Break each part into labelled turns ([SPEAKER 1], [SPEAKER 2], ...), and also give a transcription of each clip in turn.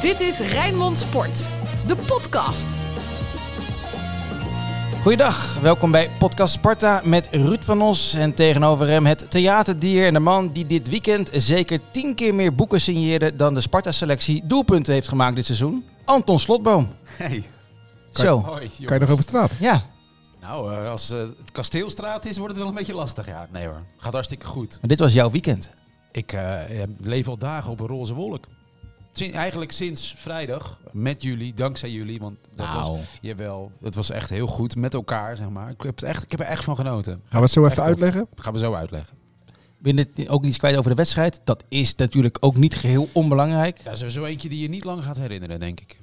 [SPEAKER 1] Dit is Rijnmond Sport, de podcast.
[SPEAKER 2] Goeiedag, welkom bij Podcast Sparta met Ruud van Os. En tegenover hem het theaterdier en de man die dit weekend zeker tien keer meer boeken signeerde dan de Sparta-selectie doelpunten heeft gemaakt dit seizoen. Anton Slotboom.
[SPEAKER 3] Hey.
[SPEAKER 2] Zo,
[SPEAKER 3] Hoi, jongens.
[SPEAKER 4] Kan je nog over straat?
[SPEAKER 2] ja.
[SPEAKER 3] Nou, eh, als eh, het kasteelstraat is, wordt het wel een beetje lastig. Ja, nee hoor. Gaat hartstikke goed.
[SPEAKER 2] Maar dit was jouw weekend.
[SPEAKER 3] Ik eh, eh, leef al dagen op een roze wolk. Sin- eigenlijk sinds vrijdag. Met jullie, dankzij jullie. Want dat was, jawel, het was echt heel goed met elkaar, zeg maar. Ik heb, het echt, ik heb er echt van genoten.
[SPEAKER 4] Gaan we het zo
[SPEAKER 3] Echt
[SPEAKER 4] even
[SPEAKER 3] tof.
[SPEAKER 4] uitleggen?
[SPEAKER 3] Dat gaan we zo uitleggen.
[SPEAKER 2] ben je het ook iets kwijt over de wedstrijd? Dat is natuurlijk ook niet geheel onbelangrijk.
[SPEAKER 3] Ja, sowieso eentje die je niet lang gaat herinneren, denk ik.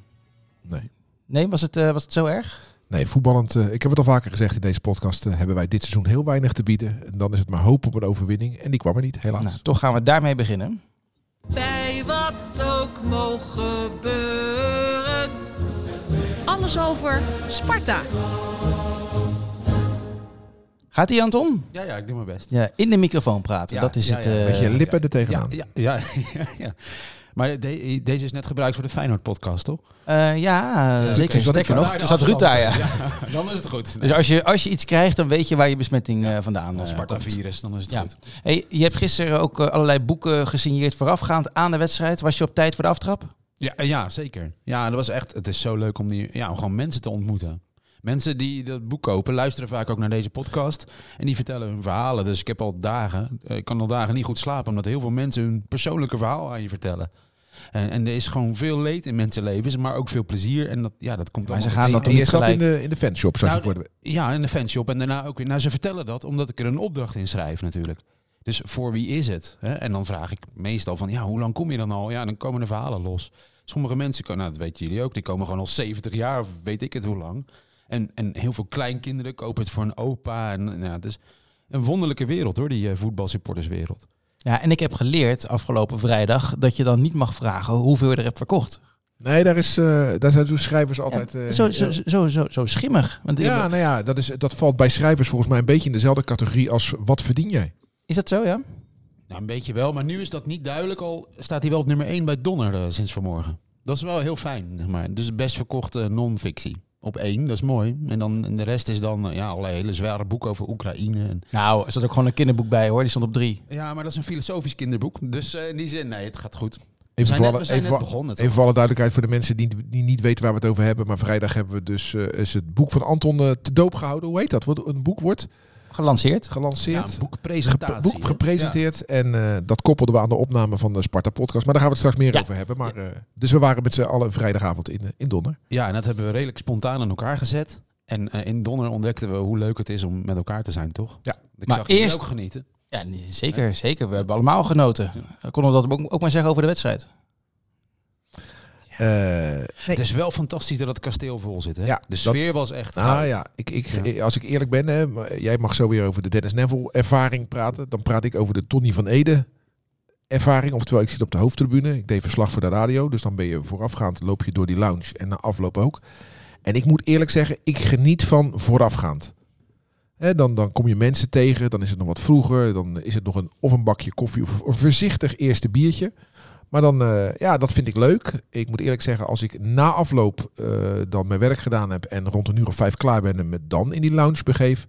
[SPEAKER 4] Nee.
[SPEAKER 2] Nee, was het, eh, was het zo erg?
[SPEAKER 4] Nee, voetballend, eh, ik heb het al vaker gezegd in deze podcast, eh, hebben wij dit seizoen heel weinig te bieden. En dan is het maar hoop op een overwinning. En die kwam er niet, helaas.
[SPEAKER 2] Nou, toch gaan we daarmee beginnen.
[SPEAKER 1] Bij wat ook mogen gebeuren. Alles over Sparta.
[SPEAKER 2] Gaat die Anton?
[SPEAKER 3] Ja, ja, ik doe mijn best.
[SPEAKER 2] Ja, in de microfoon praten.
[SPEAKER 3] Ja,
[SPEAKER 2] dat is
[SPEAKER 3] ja,
[SPEAKER 2] het.
[SPEAKER 3] ja.
[SPEAKER 2] eh,
[SPEAKER 4] Met je lippen
[SPEAKER 3] ja.
[SPEAKER 4] er
[SPEAKER 3] Ja,
[SPEAKER 4] tegenaan.
[SPEAKER 3] ja, ja, ja, ja. Maar de- deze is net gebruikt voor de Feyenoord-podcast, toch?
[SPEAKER 2] eh, ja, eh, zeker.
[SPEAKER 4] dus wat ik
[SPEAKER 2] Sterker nog,
[SPEAKER 3] Daar
[SPEAKER 2] er zat Ruud daar, ja.
[SPEAKER 3] Ja, Dan is het goed.
[SPEAKER 2] Dus als je, als je iets krijgt, dan weet je waar je besmetting eh, vandaan eh, komt.
[SPEAKER 3] Sparta-virus, dan is het
[SPEAKER 2] Ja.
[SPEAKER 3] goed.
[SPEAKER 2] Hey, je hebt gisteren ook eh, allerlei boeken gesigneerd voorafgaand aan de wedstrijd. Was je op tijd voor de aftrap?
[SPEAKER 3] Ja, eh, ja, zeker. Ja, dat was echt. Het is zo leuk om, die, ja, om gewoon mensen te ontmoeten. Mensen die dat boek kopen, luisteren vaak ook naar deze podcast. En die vertellen hun verhalen. Dus ik heb al dagen, eh, ik kan al dagen niet goed slapen, omdat heel veel mensen hun persoonlijke verhaal aan je vertellen. En, en er is gewoon veel leed in mensenlevens, maar ook veel plezier. En dat, ja, dat komt
[SPEAKER 2] Maar ze
[SPEAKER 3] allemaal.
[SPEAKER 2] gaan
[SPEAKER 4] En
[SPEAKER 2] dat toch
[SPEAKER 4] je
[SPEAKER 2] niet
[SPEAKER 4] zat
[SPEAKER 2] gelijk.
[SPEAKER 4] in de, in de fanshop, zoals
[SPEAKER 3] Nou,
[SPEAKER 4] je voor de...
[SPEAKER 3] Ja, in de fanshop. En daarna ook weer. Nou, ze vertellen dat omdat ik er een opdracht in schrijf natuurlijk. Dus voor wie is het? Hè? En dan vraag ik meestal van, ja, hoe lang kom je dan al? Ja, dan komen de verhalen los. Sommige mensen, komen, nou, dat weten jullie ook, die komen gewoon al 70 jaar of weet ik het hoe lang. En, en heel veel kleinkinderen kopen het voor een opa. En, en ja, het is een wonderlijke wereld hoor, die eh, voetbalsupporterswereld.
[SPEAKER 2] Ja, en ik heb geleerd afgelopen vrijdag dat je dan niet mag vragen hoeveel je er hebt verkocht.
[SPEAKER 4] Nee, daar, is, eh, daar zijn dus schrijvers altijd... eh,
[SPEAKER 2] zo, zo, zo, zo, zo schimmig. Want
[SPEAKER 4] ja, nou ja, dat, is, dat valt bij schrijvers volgens mij een beetje in dezelfde categorie als wat verdien jij?
[SPEAKER 2] Is dat zo, ja?
[SPEAKER 3] Nou, een beetje wel, maar nu is dat niet duidelijk. Al staat hij wel op nummer 1 bij Donner eh, sinds vanmorgen. Dat is wel heel fijn, zeg maar. Dus best verkochte non-fictie. Op één, dat is mooi. En dan en de rest is dan eh, ja, allerlei hele zware boeken over Oekraïne. En...
[SPEAKER 2] Nou, er zat ook gewoon een kinderboek bij hoor, die stond op drie.
[SPEAKER 3] Ja, maar dat is een filosofisch kinderboek. Dus eh, in die zin, nee, het gaat goed.
[SPEAKER 4] Even,
[SPEAKER 3] zijn
[SPEAKER 4] voor
[SPEAKER 3] net-
[SPEAKER 4] alle,
[SPEAKER 3] we zijn
[SPEAKER 4] even,
[SPEAKER 3] net
[SPEAKER 4] voor-
[SPEAKER 3] begonnen,
[SPEAKER 4] even voor alle duidelijkheid voor de mensen die, die niet weten waar we het over hebben. Maar vrijdag hebben we dus eh, is het boek van Anton eh, te doop gehouden. Hoe heet dat? Wat- Een boek wordt
[SPEAKER 2] Gelanceerd.
[SPEAKER 3] Ja,
[SPEAKER 4] gelanceerd.
[SPEAKER 3] een boekpresentatie.
[SPEAKER 4] boek
[SPEAKER 3] hè?
[SPEAKER 4] gepresenteerd. En eh, dat koppelden we aan de opname van de Sparta podcast. Maar daar gaan we het straks meer
[SPEAKER 2] Ja.
[SPEAKER 4] over hebben. Maar, eh, dus we waren met z'n allen vrijdagavond in, eh, in Donner.
[SPEAKER 3] Ja, en dat hebben we redelijk spontaan aan elkaar gezet. En eh, in Donner ontdekten we hoe leuk het is om met elkaar te zijn, toch?
[SPEAKER 4] Ja.
[SPEAKER 3] Ik
[SPEAKER 2] Maar
[SPEAKER 3] zag jullie
[SPEAKER 2] eerst-
[SPEAKER 3] ook genieten.
[SPEAKER 2] Ja, nee, zeker, zeker. We hebben allemaal genoten. Dan Konden we dat ook, ook maar zeggen over de wedstrijd?
[SPEAKER 4] Eh, nee.
[SPEAKER 3] Het is wel fantastisch dat het kasteel vol zit, hè?
[SPEAKER 4] Ja,
[SPEAKER 3] de
[SPEAKER 4] dat-
[SPEAKER 3] sfeer was echt
[SPEAKER 4] Ah
[SPEAKER 3] goud.
[SPEAKER 4] ja, ik, ik,
[SPEAKER 3] Ja.
[SPEAKER 4] eh, als ik eerlijk ben, hè, maar jij mag zo weer over de Dennis Neville ervaring praten. Dan praat ik over de Tony van Ede ervaring. Oftewel, ik zit op de hoofdtribune. Ik deed verslag voor de radio. Dus dan ben je voorafgaand, loop je door die lounge en na afloop ook. En ik moet eerlijk zeggen, ik geniet van voorafgaand. Hè, dan, dan kom je mensen tegen, dan is het nog wat vroeger. Dan is het nog een, of een bakje koffie of een voorzichtig eerste biertje. Maar dan, eh, ja, dat vind ik leuk. Ik moet eerlijk zeggen, als ik na afloop eh, dan mijn werk gedaan heb en rond een uur of vijf klaar ben en me dan in die lounge begeef,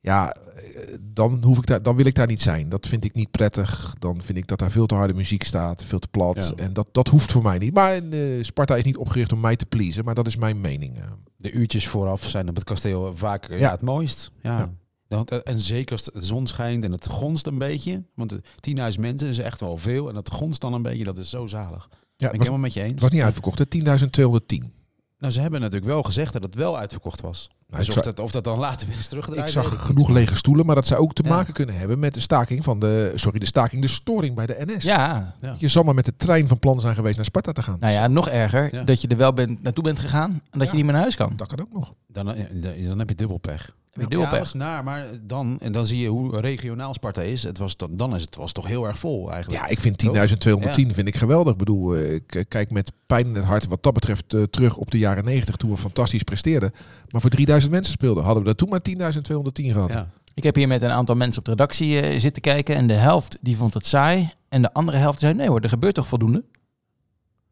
[SPEAKER 4] ja, eh, dan, hoef ik daar, dan wil ik daar niet zijn. Dat vind ik niet prettig. Dan vind ik dat daar veel te harde muziek staat, veel te plat.
[SPEAKER 3] Ja.
[SPEAKER 4] En dat, dat hoeft voor mij niet. Maar eh, Sparta is niet opgericht om mij te pleasen, maar dat is mijn mening. eh.
[SPEAKER 3] de uurtjes vooraf zijn op het kasteel vaak eh, ja.
[SPEAKER 4] Ja.
[SPEAKER 3] het mooist. Ja.
[SPEAKER 4] Ja.
[SPEAKER 3] Dan- eh, en zeker als de zon schijnt en het gonst een beetje. Want eh, 10.000 mensen is echt wel veel. En dat gonst dan een beetje, dat is zo zalig. Ben
[SPEAKER 4] Ja,
[SPEAKER 3] ik
[SPEAKER 4] het was,
[SPEAKER 3] helemaal met je eens.
[SPEAKER 4] het was niet uitverkocht, hè? 10.210.
[SPEAKER 3] Nou, ze hebben natuurlijk wel gezegd dat het wel uitverkocht was.
[SPEAKER 4] Nou,
[SPEAKER 3] dus
[SPEAKER 4] ik
[SPEAKER 3] of,
[SPEAKER 4] zag-
[SPEAKER 3] dat, of dat dan later weer is teruggedraaid,
[SPEAKER 4] Ik
[SPEAKER 3] weet
[SPEAKER 4] zag
[SPEAKER 3] niet.
[SPEAKER 4] genoeg lege stoelen, maar dat zou ook te
[SPEAKER 3] Ja.
[SPEAKER 4] maken kunnen hebben met de staking van de, sorry, de staking, de storing bij de NS.
[SPEAKER 2] Ja,
[SPEAKER 4] Je zal maar met de trein van plan zijn geweest naar Sparta te gaan.
[SPEAKER 2] Nou ja, nog erger
[SPEAKER 3] Ja.
[SPEAKER 2] dat je er wel bent, naartoe bent gegaan en dat je
[SPEAKER 4] Ja.
[SPEAKER 2] niet meer naar huis kan.
[SPEAKER 4] Dat kan ook nog.
[SPEAKER 3] Dan, eh, dan- dan heb je dubbel pech.
[SPEAKER 2] Heb je dubbel
[SPEAKER 3] Ja,
[SPEAKER 2] pech.
[SPEAKER 3] dat is naar, maar dan, en dan zie je hoe regionaal Sparta is. Het was, dan, dan is het was toch heel erg vol eigenlijk.
[SPEAKER 4] Ja, ik vind 10.210
[SPEAKER 3] Ja.
[SPEAKER 4] vind ik geweldig. Ik bedoel, eh, ik kijk met pijn in het hart wat dat betreft eh, terug op de jaren 90 toen we fantastisch presteerden. Maar voor 3000 mensen speelden, hadden we dat toen maar 10.210 gehad.
[SPEAKER 3] Ja.
[SPEAKER 2] Ik heb hier met een aantal mensen op de redactie eh, zitten kijken en de helft die vond het saai en de andere helft zei nee hoor, er gebeurt toch voldoende.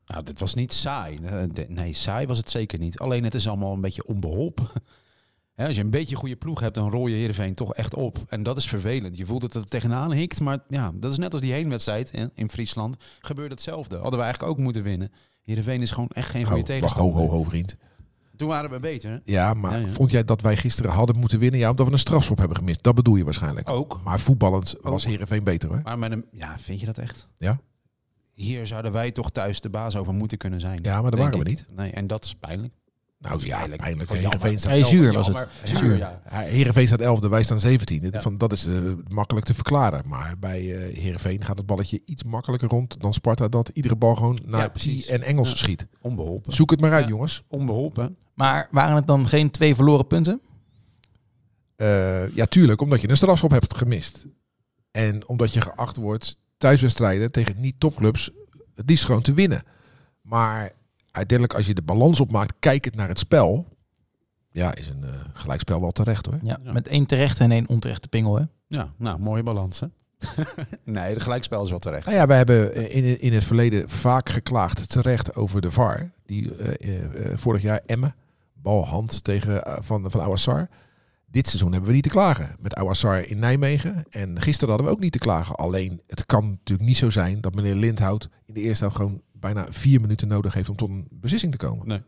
[SPEAKER 3] Nou, dit was niet saai. Eh, de- Nee, saai was het zeker niet. Alleen het is allemaal een beetje onbeholpen. Hè, als je een beetje goede ploeg hebt, dan rol je Heerenveen toch echt op. En dat is vervelend. Je voelt dat het er tegenaan hikt. Maar ja, dat is net als die heenwedstrijd in, in Friesland. Gebeurde hetzelfde. Hadden we eigenlijk ook moeten winnen. Heerenveen is gewoon echt geen goede
[SPEAKER 4] Ho, Oh, wacht, ho,
[SPEAKER 3] tegenstander.
[SPEAKER 4] ho, ho, vriend.
[SPEAKER 3] Toen waren we beter. hè?
[SPEAKER 4] Ja, maar
[SPEAKER 3] Ja, ja.
[SPEAKER 4] vond jij dat wij gisteren hadden moeten winnen? Ja, omdat we een strafschop hebben gemist. Dat bedoel je waarschijnlijk.
[SPEAKER 3] Ook.
[SPEAKER 4] Maar voetballend
[SPEAKER 3] Oh.
[SPEAKER 4] was Heerenveen beter, hoor.
[SPEAKER 3] Maar met een, ja, vind je dat echt?
[SPEAKER 4] Ja.
[SPEAKER 3] Hier zouden wij toch thuis de baas over moeten kunnen zijn.
[SPEAKER 4] Ja, maar daar
[SPEAKER 3] Denk
[SPEAKER 4] waren
[SPEAKER 3] ik.
[SPEAKER 4] we niet.
[SPEAKER 3] Nee, en dat is pijnlijk.
[SPEAKER 4] Nou ja,
[SPEAKER 3] Pijnlijk.
[SPEAKER 4] pijnlijk.
[SPEAKER 3] Gewoon jammer.
[SPEAKER 4] Heerenveen staat,
[SPEAKER 2] Hey, zuur was het.
[SPEAKER 3] Jammer. Zuur, ja.
[SPEAKER 4] Ja, Heerenveen staat 11, wij staan 17.
[SPEAKER 3] Ja.
[SPEAKER 4] Van, dat is eh, makkelijk te verklaren. Maar bij eh Heerenveen gaat het balletje iets makkelijker rond dan Sparta. Dat iedere bal gewoon naar
[SPEAKER 3] precies.
[SPEAKER 4] T en Engels
[SPEAKER 3] Ja.
[SPEAKER 4] schiet.
[SPEAKER 3] Onbeholpen.
[SPEAKER 4] Zoek het maar uit,
[SPEAKER 3] Ja.
[SPEAKER 4] jongens.
[SPEAKER 3] Onbeholpen.
[SPEAKER 2] Maar waren het dan geen twee verloren punten?
[SPEAKER 4] Eh, ja, tuurlijk, omdat je een strafschop hebt gemist. En omdat je geacht wordt thuiswedstrijden tegen niet-topclubs het liefst gewoon te winnen. Maar uiteindelijk, als je de balans opmaakt, kijkend naar het spel. Ja, is een eh, gelijkspel wel terecht hoor.
[SPEAKER 2] Ja,
[SPEAKER 3] Ja.
[SPEAKER 2] met één terechte en één onterechte pingel, hè?
[SPEAKER 3] Ja, nou, mooie balans, hè? nee, de gelijkspel is wel terecht.
[SPEAKER 4] Nou ja, wij hebben eh, in, in het verleden vaak geklaagd terecht over de VAR. Die eh, eh, eh, vorig jaar Emmen, balhand tegen, eh, van, van Awassar. Dit seizoen hebben we niet te klagen met Awassar in Nijmegen. En gisteren hadden we ook niet te klagen. Alleen het kan natuurlijk niet zo zijn dat meneer Lindhout in de eerste helft gewoon bijna vier minuten nodig heeft om tot een beslissing te komen.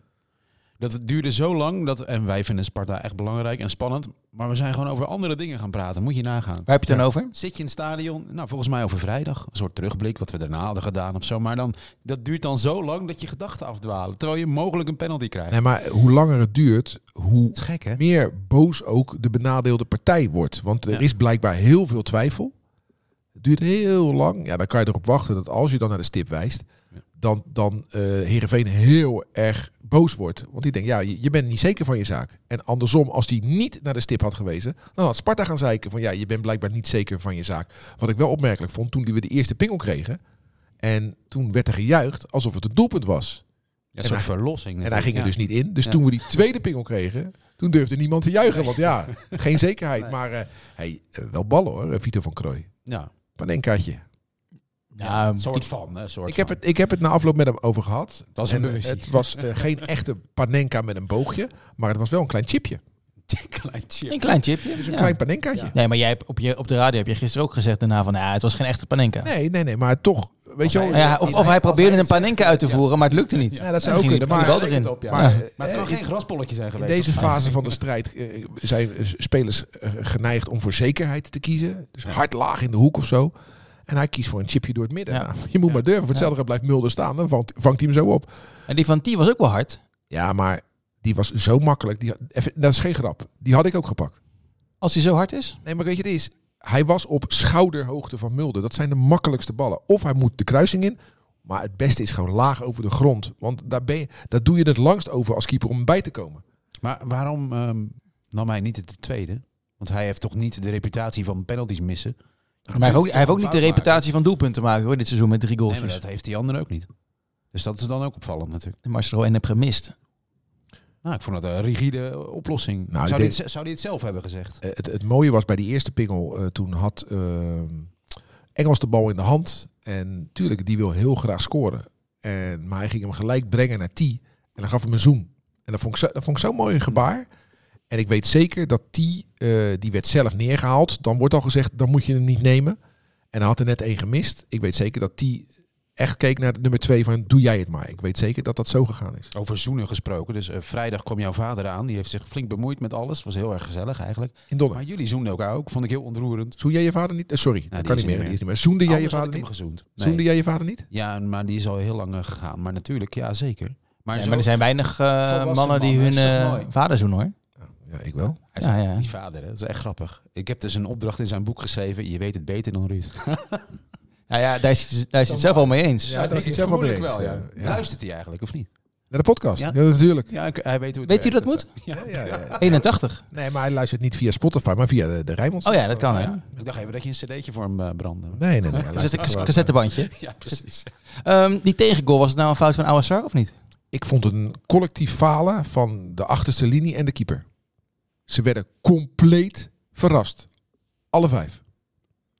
[SPEAKER 3] Dat duurde zo lang dat, en wij vinden Sparta echt belangrijk en spannend, maar we zijn gewoon over andere dingen gaan praten. Moet je nagaan.
[SPEAKER 2] Waar heb je het dan over?
[SPEAKER 3] Zit je in het stadion? Nou, volgens mij over vrijdag. Een soort terugblik wat we daarna hadden gedaan of zo. Maar dan, dat duurt dan zo lang dat je gedachten afdwalen. Terwijl je mogelijk een penalty krijgt.
[SPEAKER 4] Nee, maar hoe langer het duurt, hoe
[SPEAKER 3] Dat is gek, hè?
[SPEAKER 4] meer boos ook de benadeelde partij wordt. Want er
[SPEAKER 3] Ja.
[SPEAKER 4] is blijkbaar heel veel twijfel. Het duurt heel lang. Ja, dan kan je erop wachten dat als je dan naar de stip wijst,
[SPEAKER 3] Ja.
[SPEAKER 4] dan, dan eh Heerenveen heel erg boos wordt. Want die denkt, ja, je, je bent niet zeker van je zaak. En andersom, als die niet naar de stip had gewezen, dan had Sparta gaan zeiken van, ja, je bent blijkbaar niet zeker van je zaak. Wat ik wel opmerkelijk vond, toen die we de eerste pingel kregen, en toen werd er gejuicht alsof het een doelpunt was.
[SPEAKER 3] Ja,
[SPEAKER 4] En
[SPEAKER 3] een soort
[SPEAKER 4] hij-
[SPEAKER 3] verlossing.
[SPEAKER 4] En hij ging er dus
[SPEAKER 3] natuurlijk.
[SPEAKER 4] niet in. Dus
[SPEAKER 3] Ja.
[SPEAKER 4] toen we die tweede pingel kregen, toen durfde niemand te juichen. Want ja, geen zekerheid. Maar eh, hey, eh, wel ballen hoor, eh, Vito van Krooi.
[SPEAKER 3] Ja, ja.
[SPEAKER 4] Panenkaatje.
[SPEAKER 2] Ja,
[SPEAKER 3] een soort
[SPEAKER 2] die-
[SPEAKER 3] van. Hè, een soort
[SPEAKER 4] Ik heb,
[SPEAKER 3] van.
[SPEAKER 4] het, ik heb het na afloop met hem over gehad.
[SPEAKER 3] Het was een
[SPEAKER 4] En, eh,
[SPEAKER 3] bewustie.
[SPEAKER 4] het was eh, geen echte panenka met een boogje, maar het was wel een klein chipje.
[SPEAKER 3] Klein chip.
[SPEAKER 2] Een klein chipje.
[SPEAKER 4] Dus een
[SPEAKER 2] ja.
[SPEAKER 4] klein panenkaatje.
[SPEAKER 2] Nee, maar jij hebt op, je, op de radio heb je gisteren ook gezegd daarna van... Ja, het was geen echte panenka.
[SPEAKER 4] Nee, nee, nee, maar toch. Weet je wel,
[SPEAKER 3] hij-
[SPEAKER 2] Ja, of, of hij probeerde een panenka uit te voeren, maar het lukte niet.
[SPEAKER 4] Ja, dat zou
[SPEAKER 2] Dan ging
[SPEAKER 4] ook kunnen,
[SPEAKER 2] die
[SPEAKER 4] maar-
[SPEAKER 2] bal
[SPEAKER 3] Lijkt
[SPEAKER 2] erin.
[SPEAKER 3] het op, ja.
[SPEAKER 4] Maar,
[SPEAKER 3] Maar, het kan
[SPEAKER 4] eh,
[SPEAKER 3] geen graspolletje zijn
[SPEAKER 4] In
[SPEAKER 3] geweest.
[SPEAKER 4] deze
[SPEAKER 3] of vijf.
[SPEAKER 4] fase van de strijd eh, zijn spelers eh, geneigd om voor zekerheid te kiezen. Dus hard laag in de hoek of zo. En hij kiest voor een chipje door het midden.
[SPEAKER 2] Ja.
[SPEAKER 4] Nou, je moet maar durven. Voor hetzelfde geld blijft Mulder staan. Dan vangt, vangt hij hem zo op.
[SPEAKER 2] En die van T was ook wel hard.
[SPEAKER 4] Ja, maar die was zo makkelijk. Die, even, dat is geen grap. Die had ik ook gepakt.
[SPEAKER 2] Als hij zo hard is.
[SPEAKER 4] Nee, maar weet je, het is. Hij was op schouderhoogte van Mulder. Dat zijn de makkelijkste ballen. Of hij moet de kruising in. Maar het beste is gewoon laag over de grond. Want daar, ben je, daar doe je het langst over als keeper om bij te komen.
[SPEAKER 3] Maar waarom ehm, nam hij niet de tweede? Want hij heeft toch niet de reputatie van penalties missen?
[SPEAKER 2] Maar hij heeft ook,
[SPEAKER 3] toch
[SPEAKER 2] hij heeft ook
[SPEAKER 3] een
[SPEAKER 2] niet de
[SPEAKER 3] fout
[SPEAKER 2] reputatie van doelpunten maken hoor, dit seizoen met drie
[SPEAKER 3] Nee,
[SPEAKER 2] goaltjes.
[SPEAKER 3] maar dat heeft die andere ook niet. Dus dat is dan ook opvallend natuurlijk.
[SPEAKER 2] Maar als je er al één hebt gemist.
[SPEAKER 3] Nou, ik vond dat een rigide eh, oplossing.
[SPEAKER 4] Nou,
[SPEAKER 3] zou,
[SPEAKER 4] ik
[SPEAKER 3] hij het, zou die het zelf hebben gezegd?
[SPEAKER 4] Eh, het, het mooie was bij die eerste pingel, eh, toen had ehm, Engels de bal in de hand. En tuurlijk, die wil heel graag scoren. En, maar hij ging hem gelijk brengen naar T. En dan gaf hem een zoen. En dat vond ik, zo, dat vond ik zo'n mooi
[SPEAKER 3] Hmm.
[SPEAKER 4] gebaar. En ik weet zeker dat T, eh, die werd zelf neergehaald. Dan wordt al gezegd, dan moet je hem niet nemen. En hij had er net één gemist. Ik weet zeker dat T echt keek naar nummer twee van, doe jij het maar. Ik weet zeker dat dat zo gegaan is.
[SPEAKER 3] Over zoenen gesproken. Dus eh, vrijdag kwam jouw vader aan. Die heeft zich flink bemoeid met alles. Was heel erg gezellig eigenlijk.
[SPEAKER 4] In Donner.
[SPEAKER 3] Maar jullie zoenden elkaar ook. Vond ik heel ontroerend.
[SPEAKER 4] Zoen jij je vader niet? Eh, sorry, dat
[SPEAKER 3] die
[SPEAKER 4] kan
[SPEAKER 3] is
[SPEAKER 4] niet
[SPEAKER 3] er
[SPEAKER 4] meer.
[SPEAKER 3] niet
[SPEAKER 4] Die is niet meer. Zoende jij je
[SPEAKER 3] Anders had
[SPEAKER 4] vader
[SPEAKER 3] ik hem
[SPEAKER 4] niet?
[SPEAKER 3] gezoend. Nee.
[SPEAKER 4] Zoende jij je vader niet?
[SPEAKER 3] Ja, maar die is al heel lang eh, gegaan. Maar natuurlijk, ja zeker. Maar,
[SPEAKER 2] Nee,
[SPEAKER 3] zo-
[SPEAKER 2] maar er zijn weinig eh,
[SPEAKER 3] volwassen
[SPEAKER 2] mannen die hun
[SPEAKER 3] mannen, is toch
[SPEAKER 2] eh,
[SPEAKER 3] mooi?
[SPEAKER 2] vader zoenen hoor.
[SPEAKER 4] Ja, ik wel.
[SPEAKER 3] Hij is
[SPEAKER 2] Ja, ja.
[SPEAKER 3] die vader, hè? dat is echt grappig. Ik heb dus een opdracht in zijn boek geschreven. Je weet het beter dan Ruud.
[SPEAKER 2] Nou ja, daar is, daar is hij het zelf al mee eens.
[SPEAKER 4] Ja, daar is hij
[SPEAKER 3] ik-
[SPEAKER 4] zelf wel mee
[SPEAKER 3] vermoedelijk
[SPEAKER 4] eens,
[SPEAKER 3] wel,
[SPEAKER 4] ja.
[SPEAKER 3] eh, ja.
[SPEAKER 4] Ja.
[SPEAKER 3] Luistert hij eigenlijk, of niet?
[SPEAKER 4] Naar de podcast? Ja,
[SPEAKER 3] Ja.
[SPEAKER 4] natuurlijk.
[SPEAKER 3] Ja, ik- hij weet hoe het
[SPEAKER 2] Weet u
[SPEAKER 3] werkt
[SPEAKER 2] dat moet?
[SPEAKER 3] en zo. Ja.
[SPEAKER 4] Ja, ja, ja.
[SPEAKER 2] 81.
[SPEAKER 4] Nee, maar hij luistert niet via Spotify, maar via de, de Rijnmond.
[SPEAKER 2] Oh ja, dat kan hè.
[SPEAKER 3] Ja. Ik dacht even dat je een cd'tje voor hem eh, brandde.
[SPEAKER 4] Nee, nee, nee. hij
[SPEAKER 2] Dat Dus is
[SPEAKER 4] luistert
[SPEAKER 2] een
[SPEAKER 4] gewoon.
[SPEAKER 2] cassettebandje.
[SPEAKER 3] Ja, precies.
[SPEAKER 2] Ehm, die tegengoal, was het nou een fout van Awassar of niet?
[SPEAKER 4] Ik vond het een collectief falen van de achterste linie en de keeper. Ze werden compleet verrast. Alle vijf.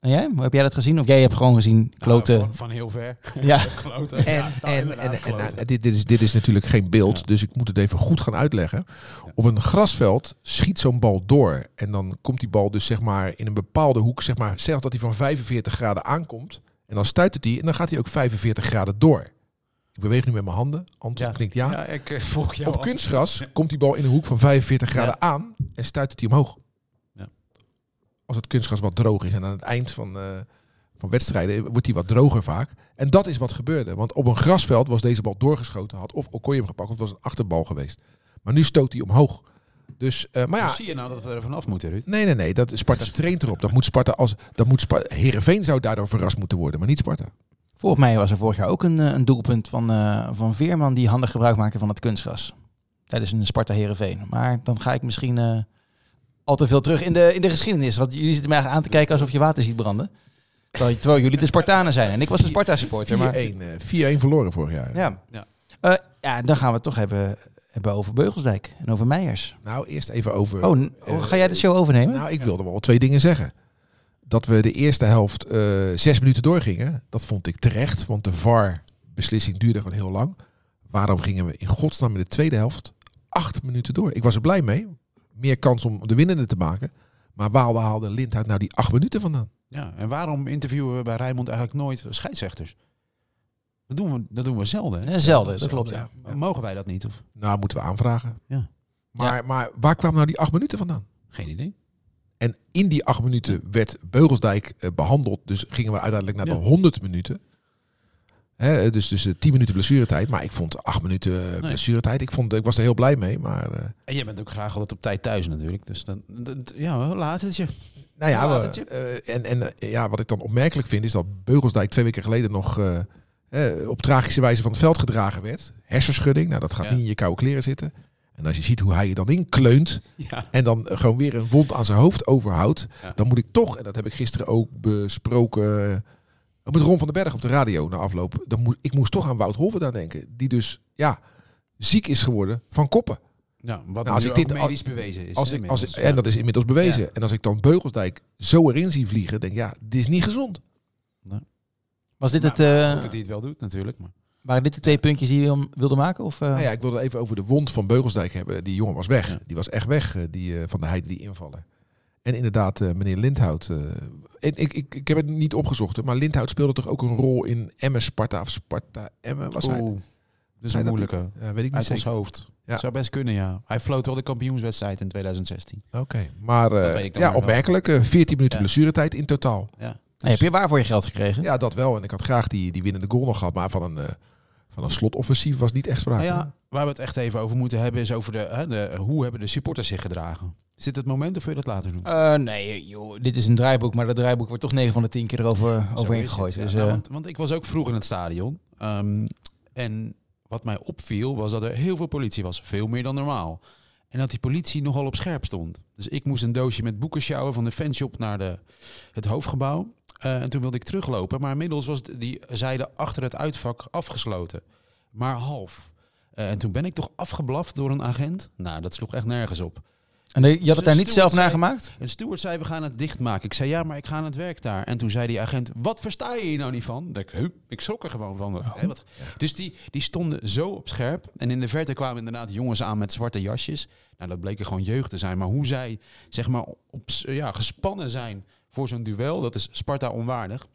[SPEAKER 2] En jij? Hoe Heb jij dat gezien? Of jij hebt gewoon gezien kloten?
[SPEAKER 3] Nou, van, van heel ver.
[SPEAKER 2] Ja.
[SPEAKER 3] kloten.
[SPEAKER 4] En,
[SPEAKER 3] Ja, nou,
[SPEAKER 4] en,
[SPEAKER 3] inderdaad,
[SPEAKER 4] en, en,
[SPEAKER 3] kloten.
[SPEAKER 4] nou, dit, dit, is, dit is natuurlijk geen beeld, dus ik moet het even goed gaan uitleggen. Op een grasveld schiet zo'n bal door. En dan komt die bal dus zeg maar in een bepaalde hoek, zeg maar, zeg dat hij van 45 graden aankomt. En dan stuit het hij en dan gaat hij ook 45 graden door. Ik beweeg nu met mijn handen. Antwoord
[SPEAKER 3] Ja.
[SPEAKER 4] klinkt ja.
[SPEAKER 3] Ja, ik eh, volg jou
[SPEAKER 4] Op
[SPEAKER 3] al.
[SPEAKER 4] kunstgras komt die bal in een hoek van 45 graden aan en stuit het hij omhoog.
[SPEAKER 3] Ja.
[SPEAKER 4] Als het kunstgras wat droog is en aan het eind van, eh, van wedstrijden wordt die wat droger vaak. En dat is wat gebeurde. Want op een grasveld was deze bal doorgeschoten, had of Okoye hem gepakt of het was een achterbal geweest. Maar nu stoot hij omhoog. Dus, eh, maar ja,
[SPEAKER 3] Zie je nou dat we er vanaf moeten, Ruud?
[SPEAKER 4] nee, nee, nee. Dat, Sparta traint erop. Dat moet Sparta als, dat moet Sparta, Heerenveen zou daardoor verrast moeten worden, maar niet Sparta.
[SPEAKER 2] Volgens mij was er vorig jaar ook een, eh, een doelpunt van, eh, van Veerman die handig gebruik maakte van het kunstgras. Tijdens een Sparta Herenveen. Maar dan ga ik misschien eh, al te veel terug in de, in de geschiedenis. Want jullie zitten mij eigenlijk aan te kijken alsof je water ziet branden. Terwijl, terwijl jullie de Spartanen zijn. En ik was een Sparta supporter. Maar,
[SPEAKER 4] 4-1 eh, 4-1 verloren vorig jaar.
[SPEAKER 2] ja.
[SPEAKER 3] Ja.
[SPEAKER 2] Eh, ja, dan gaan we het toch hebben, hebben over Beugelsdijk en over Meijers.
[SPEAKER 4] Nou, eerst even over...
[SPEAKER 2] Oh, n- oh, ga jij de show overnemen?
[SPEAKER 4] Nou, ik wilde wel twee dingen zeggen. Dat we de eerste helft eh, zes minuten doorgingen, dat vond ik terecht. Want de VAR-beslissing duurde gewoon heel lang. Waarom gingen we in godsnaam in de tweede helft acht minuten door? Ik was er blij mee. Meer kans om de winnende te maken. Maar waar haalde Lindhout nou die acht minuten vandaan?
[SPEAKER 3] Ja, en waarom interviewen we bij Rijmond eigenlijk nooit scheidsrechters? Dat doen we, dat doen we zelden. hè?
[SPEAKER 2] Eh, zelden, dat klopt. Ja.
[SPEAKER 4] Ja.
[SPEAKER 3] Mogen wij dat niet? Of?
[SPEAKER 4] Nou, moeten we aanvragen.
[SPEAKER 3] Ja.
[SPEAKER 4] Maar, maar waar kwamen nou die acht minuten vandaan?
[SPEAKER 3] Geen idee.
[SPEAKER 4] En in die acht minuten werd Beugelsdijk eh, behandeld. Dus gingen we uiteindelijk naar
[SPEAKER 3] Ja.
[SPEAKER 4] de 100 minuten. Hè, dus, dus eh, 10 minuten blessuretijd. Maar ik vond acht minuten eh, blessuretijd. Ik, vond, ik was er heel blij mee. Maar eh,
[SPEAKER 3] En jij bent ook graag altijd op tijd thuis natuurlijk. Dus dan, dat- ja, laat het je.
[SPEAKER 4] nou
[SPEAKER 3] Ja,
[SPEAKER 4] ja,
[SPEAKER 3] dat
[SPEAKER 4] we- eh, en, en eh, ja, wat ik dan opmerkelijk vind is dat Beugelsdijk twee weken geleden nog eh, eh, op tragische wijze van het veld gedragen werd. Hersenschudding. Nou, dat gaat
[SPEAKER 3] Ja.
[SPEAKER 4] niet in je koude kleren zitten. En als je ziet hoe hij je dan inkleunt.
[SPEAKER 3] Ja.
[SPEAKER 4] en dan eh, gewoon weer een wond aan zijn hoofd overhoudt,
[SPEAKER 3] Ja.
[SPEAKER 4] dan moet ik toch, en dat heb ik gisteren ook besproken eh, met Ron van den Berg op de radio na afloop, dan moet, ik moest toch aan Wout Holven daar denken, die dus ja, ziek is geworden van koppen.
[SPEAKER 3] ja wat
[SPEAKER 4] Nou, als
[SPEAKER 3] nu
[SPEAKER 4] ik
[SPEAKER 3] ook
[SPEAKER 4] dit-
[SPEAKER 3] medisch bewezen is.
[SPEAKER 4] Als
[SPEAKER 3] hè,
[SPEAKER 4] ik, als ik,
[SPEAKER 3] inmiddels.
[SPEAKER 4] en dat is inmiddels bewezen. En als ik dan Beugelsdijk zo erin zie vliegen, denk ik, ja, dit is niet gezond.
[SPEAKER 2] Was dit
[SPEAKER 3] Nou,
[SPEAKER 2] het,
[SPEAKER 3] maar
[SPEAKER 2] eh,
[SPEAKER 3] goed dat hij het wel doet natuurlijk. Maar.
[SPEAKER 2] waren dit de twee puntjes die je om- wilde maken? Of, eh?
[SPEAKER 4] Nou ja, ik wilde even over de wond van Beugelsdijk hebben. Die jongen was weg.
[SPEAKER 3] Ja.
[SPEAKER 4] Die was echt weg, eh, die, eh, van de Heide, die invaller. En inderdaad, eh, meneer Lindhout. eh, ik, ik, ik, ik heb het niet opgezocht, hè, maar Lindhout speelde toch ook een rol in Emmen Sparta of Sparta Emmen? Was hij?
[SPEAKER 3] Oeh, dat is
[SPEAKER 4] Zei
[SPEAKER 3] een
[SPEAKER 4] dat
[SPEAKER 3] moeilijke.
[SPEAKER 4] Ja, Eh, weet ik niet
[SPEAKER 3] Uit ons
[SPEAKER 4] zeker.
[SPEAKER 3] hoofd.
[SPEAKER 4] Ja.
[SPEAKER 3] Zou best kunnen, ja. Hij floot wel de kampioenswedstrijd in 2016.
[SPEAKER 4] Oké, maar eh,
[SPEAKER 3] Dat weet ik dan
[SPEAKER 4] ja,
[SPEAKER 3] weer wel.
[SPEAKER 4] opmerkelijk. eh, 14 minuten
[SPEAKER 3] Ja.
[SPEAKER 4] blessuretijd in totaal.
[SPEAKER 3] Ja.
[SPEAKER 2] Nee, heb je waar voor je geld gekregen?
[SPEAKER 4] Ja, dat wel. En ik had graag die, die winnende goal nog gehad, maar van een, eh, van een slotoffensief was niet echt sprake.
[SPEAKER 3] Nou ja, waar we het echt even over moeten hebben is over de, hè, de hoe hebben de supporters zich gedragen. Is dit het moment of wil je dat later doen?
[SPEAKER 2] Eh, nee, joh, dit is een draaiboek, maar dat draaiboek wordt toch 9 van de 10 keer erover
[SPEAKER 3] Zo
[SPEAKER 2] overheen
[SPEAKER 3] is
[SPEAKER 2] gegooid.
[SPEAKER 3] het, ja.
[SPEAKER 2] Dus,
[SPEAKER 3] Nou,
[SPEAKER 2] eh,
[SPEAKER 3] want, want ik was ook vroeg in het stadion. Ehm, en wat mij opviel was dat er heel veel politie was. Veel meer dan normaal. En dat die politie nogal op scherp stond. Dus ik moest een doosje met boeken sjouwen van de fanshop naar de, het hoofdgebouw. Eh, en toen wilde ik teruglopen. Maar inmiddels was d- die zijde achter het uitvak afgesloten. Maar half. Eh, en toen ben ik toch afgeblaft door een agent. Nou, dat sloeg echt nergens op.
[SPEAKER 2] en eh, je had het daar niet
[SPEAKER 3] Stuart
[SPEAKER 2] zelf
[SPEAKER 3] zei-
[SPEAKER 2] nagemaakt?
[SPEAKER 3] En Stuart zei, we gaan het dichtmaken. Ik zei, ja, maar ik ga aan het werk daar. En toen zei die agent, wat versta je hier nou niet van? Dat Ik, "Huh?" ik schrok er gewoon van. Hè, wat? Dus die, die stonden zo op scherp. En in de verte kwamen inderdaad jongens aan met zwarte jasjes. Nou, dat bleken gewoon jeugd te zijn. Maar hoe zij, zeg maar, op, s- ja, gespannen zijn voor zo'n duel, dat is Sparta onwaardig.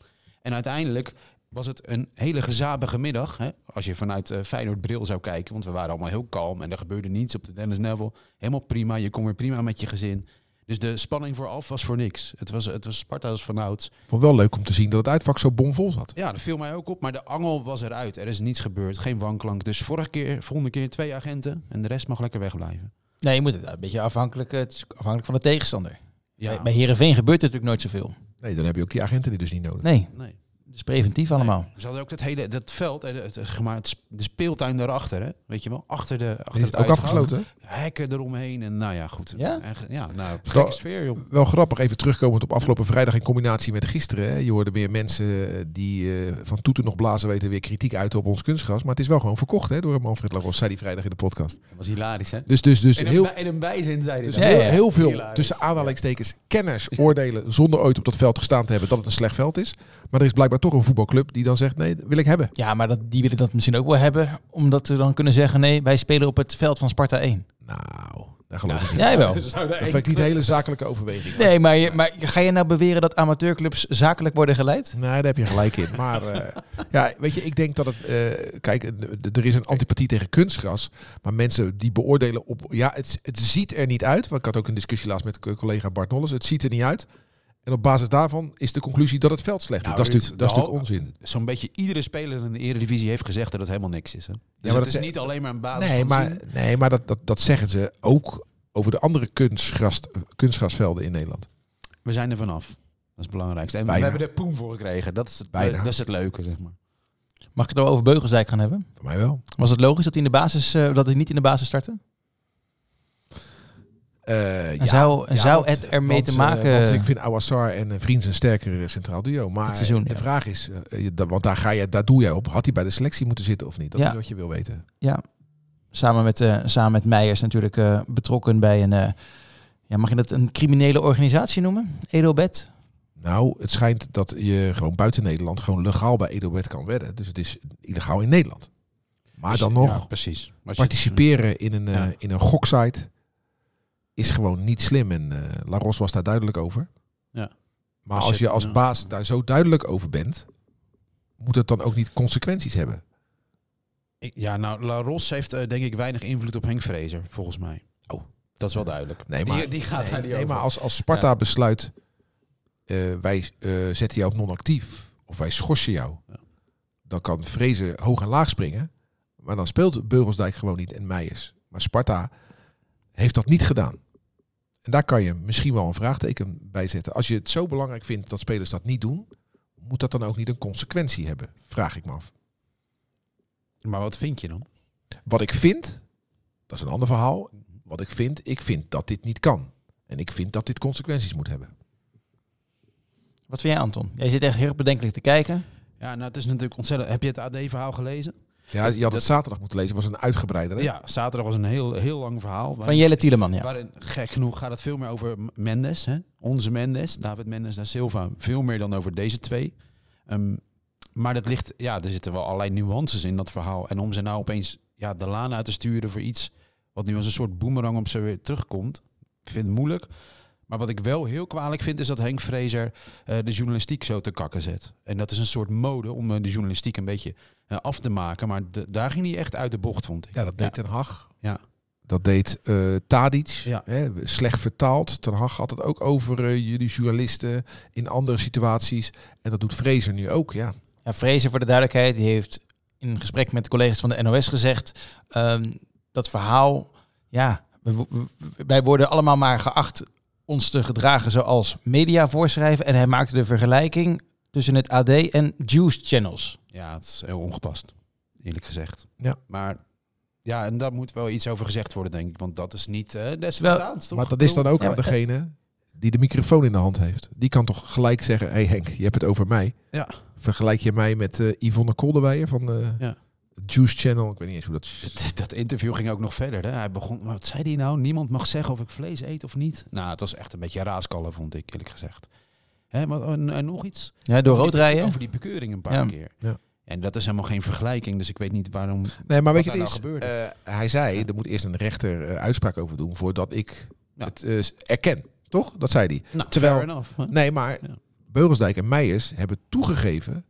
[SPEAKER 3] En uiteindelijk was het een hele gezabige middag. Hè? Als je vanuit eh, Feyenoord Bril zou kijken, want we waren allemaal heel kalm. En er gebeurde niets op de Dennis Neville. Helemaal prima, je kon weer prima met je gezin. Dus de spanning vooraf was voor niks. Het was, het was Sparta als vanouds.
[SPEAKER 4] Vond wel leuk om te zien dat het uitvak zo bomvol zat.
[SPEAKER 3] Ja, dat viel mij ook op. Maar de angel was eruit. Er is niets gebeurd. Geen wanklank. Dus vorige keer, volgende keer twee agenten. En de rest mag lekker wegblijven.
[SPEAKER 2] Nee, je moet het een beetje afhankelijk, eh, het is afhankelijk van de tegenstander.
[SPEAKER 3] Ja,
[SPEAKER 2] Bij, bij Heerenveen gebeurt er natuurlijk nooit zoveel.
[SPEAKER 4] Nee, dan heb je ook die agenten die dus niet nodig.
[SPEAKER 2] Nee.
[SPEAKER 3] nee.
[SPEAKER 2] is preventief allemaal.
[SPEAKER 3] Ze hadden ook dat hele dat veld, eh, het, het, zeg maar, het sp- de speeltuin daarachter, hè? weet je wel? Achter, de, achter
[SPEAKER 4] Is
[SPEAKER 3] het
[SPEAKER 4] het ook
[SPEAKER 3] uitgang.
[SPEAKER 4] afgesloten?
[SPEAKER 3] Hekken eromheen en nou ja, goed.
[SPEAKER 2] Ja?
[SPEAKER 3] En ge- ja nou, gekke
[SPEAKER 4] Wel-
[SPEAKER 3] sfeer, joh.
[SPEAKER 4] Wel grappig, even terugkomend op afgelopen vrijdag in combinatie met gisteren. Hè. Je hoorde weer mensen eh, die eh, van toeten nog blazen weten weer kritiek uiten op ons kunstgras. Maar het is wel gewoon verkocht hè, door Manfred Laros, zei die vrijdag in de podcast.
[SPEAKER 3] Dat was hilarisch, hè?
[SPEAKER 4] Dus, dus, dus
[SPEAKER 3] in,
[SPEAKER 4] heel,
[SPEAKER 3] een, bij- in een bijzin zei hij
[SPEAKER 4] dus
[SPEAKER 3] dat.
[SPEAKER 2] Ja,
[SPEAKER 4] heel,
[SPEAKER 2] ja.
[SPEAKER 4] heel veel,
[SPEAKER 3] Hilarisch.
[SPEAKER 4] tussen aanhalingstekens, kenners oordelen zonder ooit op dat veld gestaan te hebben dat het een slecht veld is. Maar er is blijkbaar toch een voetbalclub die dan zegt, nee, dat wil ik hebben.
[SPEAKER 2] Ja, maar dat, die willen dat misschien ook wel hebben. Omdat ze dan kunnen zeggen, nee, wij spelen op het veld van Sparta 1.
[SPEAKER 4] Nou, daar geloof ik niet.
[SPEAKER 2] Jij wel.
[SPEAKER 3] Ze zouden
[SPEAKER 4] Dat
[SPEAKER 3] één-
[SPEAKER 4] vind ik niet de hele zakelijke overweging.
[SPEAKER 2] Nee, maar, je- maar ga je nou beweren dat amateurclubs zakelijk worden geleid?
[SPEAKER 4] Nee, daar heb je gelijk in. Maar eh, ja, weet je, ik denk dat het... eh, kijk, eh, d- er is een antipathie tegen kunstgras. Maar mensen die beoordelen op... Ja, het, het ziet er niet uit. Want ik had ook een discussie laatst met eh, collega Bart Nolles. Het ziet er niet uit. En op basis daarvan is de conclusie dat het veld slecht is.
[SPEAKER 3] Nou,
[SPEAKER 4] dat is
[SPEAKER 3] Ruud,
[SPEAKER 4] natuurlijk, dat is
[SPEAKER 3] de
[SPEAKER 4] natuurlijk
[SPEAKER 3] hal-
[SPEAKER 4] onzin.
[SPEAKER 3] Zo'n beetje iedere speler in de Eredivisie heeft gezegd dat het helemaal niks is. Hè? Dus
[SPEAKER 4] maar
[SPEAKER 3] het
[SPEAKER 4] dat
[SPEAKER 3] is
[SPEAKER 4] ze-
[SPEAKER 3] niet alleen maar een basis
[SPEAKER 4] Nee,
[SPEAKER 3] van
[SPEAKER 4] maar,
[SPEAKER 3] zien.
[SPEAKER 4] nee, maar dat, dat, dat zeggen ze ook over de andere kunstgras, kunstgrasvelden in Nederland.
[SPEAKER 3] We zijn er vanaf. Dat is het belangrijkste. En we
[SPEAKER 4] Bijna.
[SPEAKER 3] hebben er poen voor gekregen. Dat is, het,
[SPEAKER 4] Bijna.
[SPEAKER 3] dat is het leuke, zeg maar.
[SPEAKER 2] Mag ik het wel over Beugelsdijk gaan hebben?
[SPEAKER 4] Voor mij wel.
[SPEAKER 2] Was het logisch dat hij, in de basis, eh, dat hij niet in de basis startte?
[SPEAKER 4] Eh,
[SPEAKER 2] En zou, en
[SPEAKER 4] Ja,
[SPEAKER 2] zou
[SPEAKER 4] want-
[SPEAKER 2] het ermee
[SPEAKER 4] want,
[SPEAKER 2] te
[SPEAKER 4] eh,
[SPEAKER 2] maken...
[SPEAKER 4] want ik vind Awassar en eh, Vriends een sterker eh, centraal duo. Maar
[SPEAKER 2] Dit seizoen,
[SPEAKER 4] de
[SPEAKER 2] ja.
[SPEAKER 4] vraag is, eh, je- da- want daar, ga je, daar doe jij op. Had hij bij de selectie moeten zitten of niet? Dat
[SPEAKER 2] Ja.
[SPEAKER 4] is wat je wil weten.
[SPEAKER 2] samen met, eh, samen met Meijers natuurlijk eh, betrokken bij een, eh, ja, mag je dat een criminele organisatie noemen? Edelbed.
[SPEAKER 4] Nou, het schijnt dat je gewoon buiten Nederland gewoon legaal bij Edelbert kan wedden. Dus het is illegaal in Nederland. Maar
[SPEAKER 3] Dus-
[SPEAKER 4] dan
[SPEAKER 3] Ja,
[SPEAKER 4] nog,
[SPEAKER 3] precies. Maar als je-
[SPEAKER 4] participeren in een, eh,
[SPEAKER 3] Ja.
[SPEAKER 4] in een goksite is gewoon niet slim. En eh Laros was daar duidelijk over.
[SPEAKER 3] Ja.
[SPEAKER 4] Maar
[SPEAKER 3] Als
[SPEAKER 4] als
[SPEAKER 3] je-
[SPEAKER 4] je als
[SPEAKER 3] ja.
[SPEAKER 4] baas daar zo duidelijk over bent, moet het dan ook niet consequenties hebben.
[SPEAKER 3] Ik- Ja, nou, La Ros heeft eh, denk ik weinig invloed op Henk Vrezer, volgens mij.
[SPEAKER 4] Oh.
[SPEAKER 3] Dat is wel duidelijk.
[SPEAKER 4] Nee,
[SPEAKER 3] Die-
[SPEAKER 4] maar-
[SPEAKER 3] die, gaat
[SPEAKER 4] nee,
[SPEAKER 3] daar niet
[SPEAKER 4] nee,
[SPEAKER 3] over.
[SPEAKER 4] maar als, als Sparta besluit, eh, wij eh, zetten jou op non-actief of wij schorsen jou,
[SPEAKER 3] Ja.
[SPEAKER 4] dan kan Vrezen hoog en laag springen. Maar dan speelt Beugelsdijk gewoon niet en Meijers. Maar Sparta heeft dat niet gedaan. En daar kan je misschien wel een vraagteken bij zetten. Als je het zo belangrijk vindt dat spelers dat niet doen, moet dat dan ook niet een consequentie hebben? Vraag ik me af.
[SPEAKER 3] Maar wat vind je dan?
[SPEAKER 4] Wat ik vind, dat is een ander verhaal. Wat ik vind, ik vind dat dit niet kan. En ik vind dat dit consequenties moet hebben.
[SPEAKER 2] Wat vind jij Anton? Jij zit echt heel erg bedenkelijk te kijken.
[SPEAKER 3] Ja, nou, het is natuurlijk ontzettend... Heb je het AD-verhaal gelezen?
[SPEAKER 4] Ja, je had
[SPEAKER 3] Dat-
[SPEAKER 4] het zaterdag moeten lezen. Het was een uitgebreider. hè?
[SPEAKER 3] Ja, zaterdag was een heel, heel lang verhaal.
[SPEAKER 2] Van Jelle Tieleman, ja.
[SPEAKER 3] Waarin, gek genoeg, gaat het veel meer over M- Mendes. Hè? Onze Mendes, David Mendes da Silva. Veel meer dan over deze twee. Ehm, maar dat ligt, ja, er zitten wel allerlei nuances in dat verhaal. En om ze nou opeens ja, de laan uit te sturen voor iets wat nu als een soort boemerang op ze weer terugkomt, ik vind het moeilijk. Maar wat ik wel heel kwalijk vind, is dat Henk Vrezer eh, de journalistiek zo te kakken zet. En dat is een soort mode om eh, de journalistiek een beetje eh, af te maken. Maar de- daar ging hij echt uit de bocht, vond ik.
[SPEAKER 4] Ja, dat deed Ten Hag.
[SPEAKER 3] Ja.
[SPEAKER 4] Dat deed eh, Tadic.
[SPEAKER 3] Ja.
[SPEAKER 4] Hè, slecht vertaald. Ten Hag had het ook over eh, jullie journalisten in andere situaties. En dat doet Fraser nu ook. Ja.
[SPEAKER 2] ja Vrezen voor de duidelijkheid, die heeft in een gesprek met de collega's van de NOS gezegd... ehm, dat verhaal, ja, we- we- we- wij worden allemaal maar geacht ons te gedragen zoals media voorschrijven. En hij maakte de vergelijking tussen het AD en Juice Channels.
[SPEAKER 3] Ja, het is heel ongepast, eerlijk gezegd.
[SPEAKER 4] Ja.
[SPEAKER 3] Maar ja, en daar moet wel iets over gezegd worden, denk ik. Want dat is niet eh des
[SPEAKER 2] Wel-
[SPEAKER 3] Spartaans, toch?
[SPEAKER 4] Maar dat is dan ook
[SPEAKER 2] Ja,
[SPEAKER 4] aan
[SPEAKER 2] maar- eh,
[SPEAKER 4] degene die de microfoon in de hand heeft. Die kan toch gelijk zeggen, hé hey Henk, je hebt het over mij.
[SPEAKER 3] Ja.
[SPEAKER 4] Vergelijk je mij met eh, Yvonne Kolderweijer van eh,
[SPEAKER 3] Ja.
[SPEAKER 4] Juice Channel. Ik weet niet eens hoe dat...
[SPEAKER 3] Dat, dat interview ging ook nog verder. Hè? Hij begon, maar wat zei hij nou? Niemand mag zeggen of ik vlees eet of niet. Nou, het was echt een beetje raaskallen, vond ik, eerlijk gezegd. Hè, maar, en, en nog iets?
[SPEAKER 2] Ja, door rood
[SPEAKER 3] Over die-
[SPEAKER 2] rijden.
[SPEAKER 3] Over die bekeuring een paar
[SPEAKER 2] Ja.
[SPEAKER 3] keer.
[SPEAKER 4] Ja.
[SPEAKER 3] En dat is helemaal geen vergelijking, dus ik weet niet waarom...
[SPEAKER 4] Nee, maar weet je,
[SPEAKER 3] Wat
[SPEAKER 4] het
[SPEAKER 3] daar
[SPEAKER 4] is,
[SPEAKER 3] nou
[SPEAKER 4] eh, hij zei, er moet eerst een rechter eh, uitspraak over doen voordat ik
[SPEAKER 3] Ja.
[SPEAKER 4] het eh, erken. Toch? Dat zei hij.
[SPEAKER 3] Nou,
[SPEAKER 4] Terwijl-
[SPEAKER 3] fair enough, hè?
[SPEAKER 4] Nee, maar
[SPEAKER 3] Ja.
[SPEAKER 4] Beugelsdijk en Meijers hebben toegegeven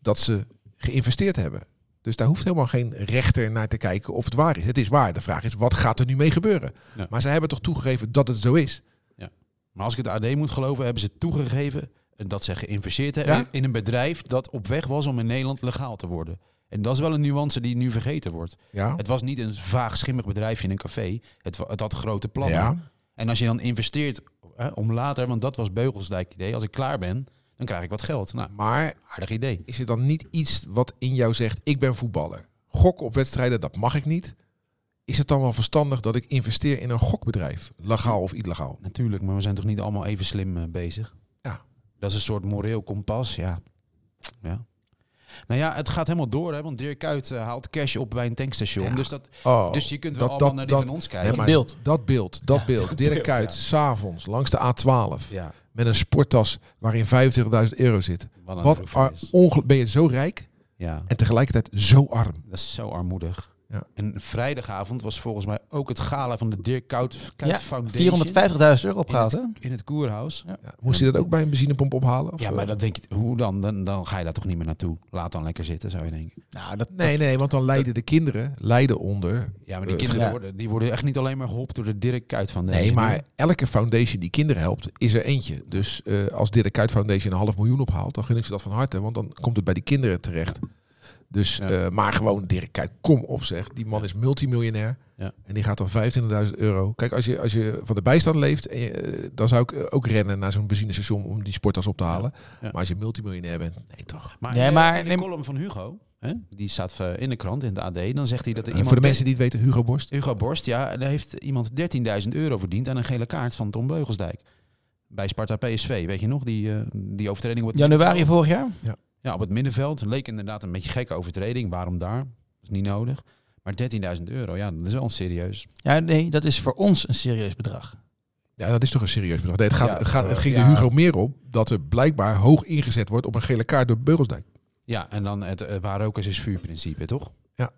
[SPEAKER 4] dat ze geïnvesteerd hebben. Dus daar hoeft helemaal geen rechter naar te kijken of het waar is. Het is waar. De vraag is, wat gaat er nu mee gebeuren?
[SPEAKER 3] Ja.
[SPEAKER 4] Maar zij hebben toch toegegeven dat het zo is?
[SPEAKER 3] Maar als ik het AD moet geloven, hebben ze toegegeven dat ze geïnvesteerd hebben
[SPEAKER 4] Ja?
[SPEAKER 3] in een bedrijf dat op weg was om in Nederland legaal te worden. En dat is wel een nuance die nu vergeten wordt.
[SPEAKER 4] Ja.
[SPEAKER 3] Het was niet een vaag schimmig bedrijfje in een café. Het, wa- het had grote plannen.
[SPEAKER 4] ja.
[SPEAKER 3] En als je dan investeert hè, om later, want dat was Beugelsdijk idee, als ik klaar ben, Dan krijg ik wat geld. Nou,
[SPEAKER 4] Maar
[SPEAKER 3] aardig idee.
[SPEAKER 4] is er dan niet iets wat in jou zegt, ik ben voetballer. Gokken op wedstrijden, dat mag ik niet. Is het dan wel verstandig dat ik investeer in een gokbedrijf? Legaal of illegaal?
[SPEAKER 3] Natuurlijk, maar we zijn toch niet allemaal even slim eh, bezig?
[SPEAKER 4] Ja.
[SPEAKER 3] Dat is een soort moreel kompas, ja. ja. Nou ja, het gaat helemaal door, hè, want Dirk Kuyt eh, haalt cash op bij een tankstation.
[SPEAKER 4] Ja.
[SPEAKER 3] Dus, dat,
[SPEAKER 4] Oh,
[SPEAKER 3] dus je kunt wel
[SPEAKER 4] dat-
[SPEAKER 3] allemaal
[SPEAKER 4] dat-
[SPEAKER 3] naar die
[SPEAKER 4] dat-
[SPEAKER 3] van ons
[SPEAKER 4] nee,
[SPEAKER 3] kijken.
[SPEAKER 4] maar
[SPEAKER 2] beeld.
[SPEAKER 4] Dat beeld, dat
[SPEAKER 3] Ja,
[SPEAKER 4] beeld.
[SPEAKER 3] dat
[SPEAKER 4] Dirk
[SPEAKER 3] beeld,
[SPEAKER 4] Kuyt,
[SPEAKER 3] ja.
[SPEAKER 4] s'avonds, langs de A12,
[SPEAKER 3] ja,
[SPEAKER 4] met een sporttas waarin 25.000 euro zit.
[SPEAKER 3] wat een
[SPEAKER 4] Wat
[SPEAKER 3] droefheid
[SPEAKER 4] ar-
[SPEAKER 3] is.
[SPEAKER 4] ongel- ben je zo rijk
[SPEAKER 3] Ja,
[SPEAKER 4] en tegelijkertijd zo arm.
[SPEAKER 3] dat is zo armoedig.
[SPEAKER 4] Ja.
[SPEAKER 3] En vrijdagavond was volgens mij ook het gala van de Dirk Kuyt, Kuyt
[SPEAKER 2] Ja,
[SPEAKER 3] Foundation
[SPEAKER 2] 450.000 euro opgehaald, hè?
[SPEAKER 3] in het Koerhuis.
[SPEAKER 4] Ja, moest hij dat ook bij een benzinepomp ophalen? Of, eh,
[SPEAKER 3] Ja, maar dan denk je, hoe dan? dan? Dan ga je daar toch niet meer naartoe. Laat dan lekker zitten, zou je denken.
[SPEAKER 2] Nou, dat...
[SPEAKER 4] Nee, nee, want dan lijden de kinderen lijden onder.
[SPEAKER 3] Ja, maar die
[SPEAKER 4] Eh,
[SPEAKER 3] kinderen
[SPEAKER 2] ja.
[SPEAKER 3] worden, die worden echt niet alleen maar geholpen door de Dirk Kuyt Foundation.
[SPEAKER 4] Nee, maar elke foundation die kinderen helpt, is er eentje. Dus eh, als Dirk Kuyt Foundation een half miljoen ophaalt, dan gun ik ze dat van harte. Want dan komt het bij die kinderen terecht. Dus,
[SPEAKER 3] Ja.
[SPEAKER 4] eh, maar gewoon Dirk Kuyt, kom op zeg. Die man is multimiljonair.
[SPEAKER 3] Ja.
[SPEAKER 4] En die gaat dan 25.000 euro. Kijk, als je, als je van de bijstand leeft, en je, eh, dan zou ik eh, ook rennen naar zo'n benzinestation om die sporttas op te halen.
[SPEAKER 3] Ja.
[SPEAKER 4] Maar als je multimiljonair bent, nee toch.
[SPEAKER 3] Maar,
[SPEAKER 2] Nee,
[SPEAKER 3] eh,
[SPEAKER 2] maar
[SPEAKER 3] in de
[SPEAKER 2] neem-
[SPEAKER 3] column van Hugo, hè, die staat eh, in de krant, in de AD, dan zegt hij dat er
[SPEAKER 4] En
[SPEAKER 3] iemand...
[SPEAKER 4] voor de mensen die het weten, Hugo Borst.
[SPEAKER 3] Hugo Borst, ja, daar heeft iemand 13.000 euro verdiend aan een gele kaart van Tom Beugelsdijk. Bij Sparta PSV, weet je nog? Die, eh, die overtreding wordt...
[SPEAKER 2] Januari vorig jaar?
[SPEAKER 3] Ja, op het middenveld. Leek inderdaad een beetje gekke overtreding. Waarom daar? is niet nodig. Maar 13.000 euro, ja, dat is wel serieus.
[SPEAKER 2] Ja, nee, dat is voor ons een serieus bedrag.
[SPEAKER 4] Ja, dat is toch een serieus bedrag. Nee, het, gaat,
[SPEAKER 3] Ja,
[SPEAKER 4] het, gaat, het ging
[SPEAKER 3] ja.
[SPEAKER 4] de Hugo meer op dat er blijkbaar hoog ingezet wordt op een gele kaart door Beugelsdijk.
[SPEAKER 3] Ja, en dan het eh, waar ook is, is vuurprincipe, toch?
[SPEAKER 4] Ja.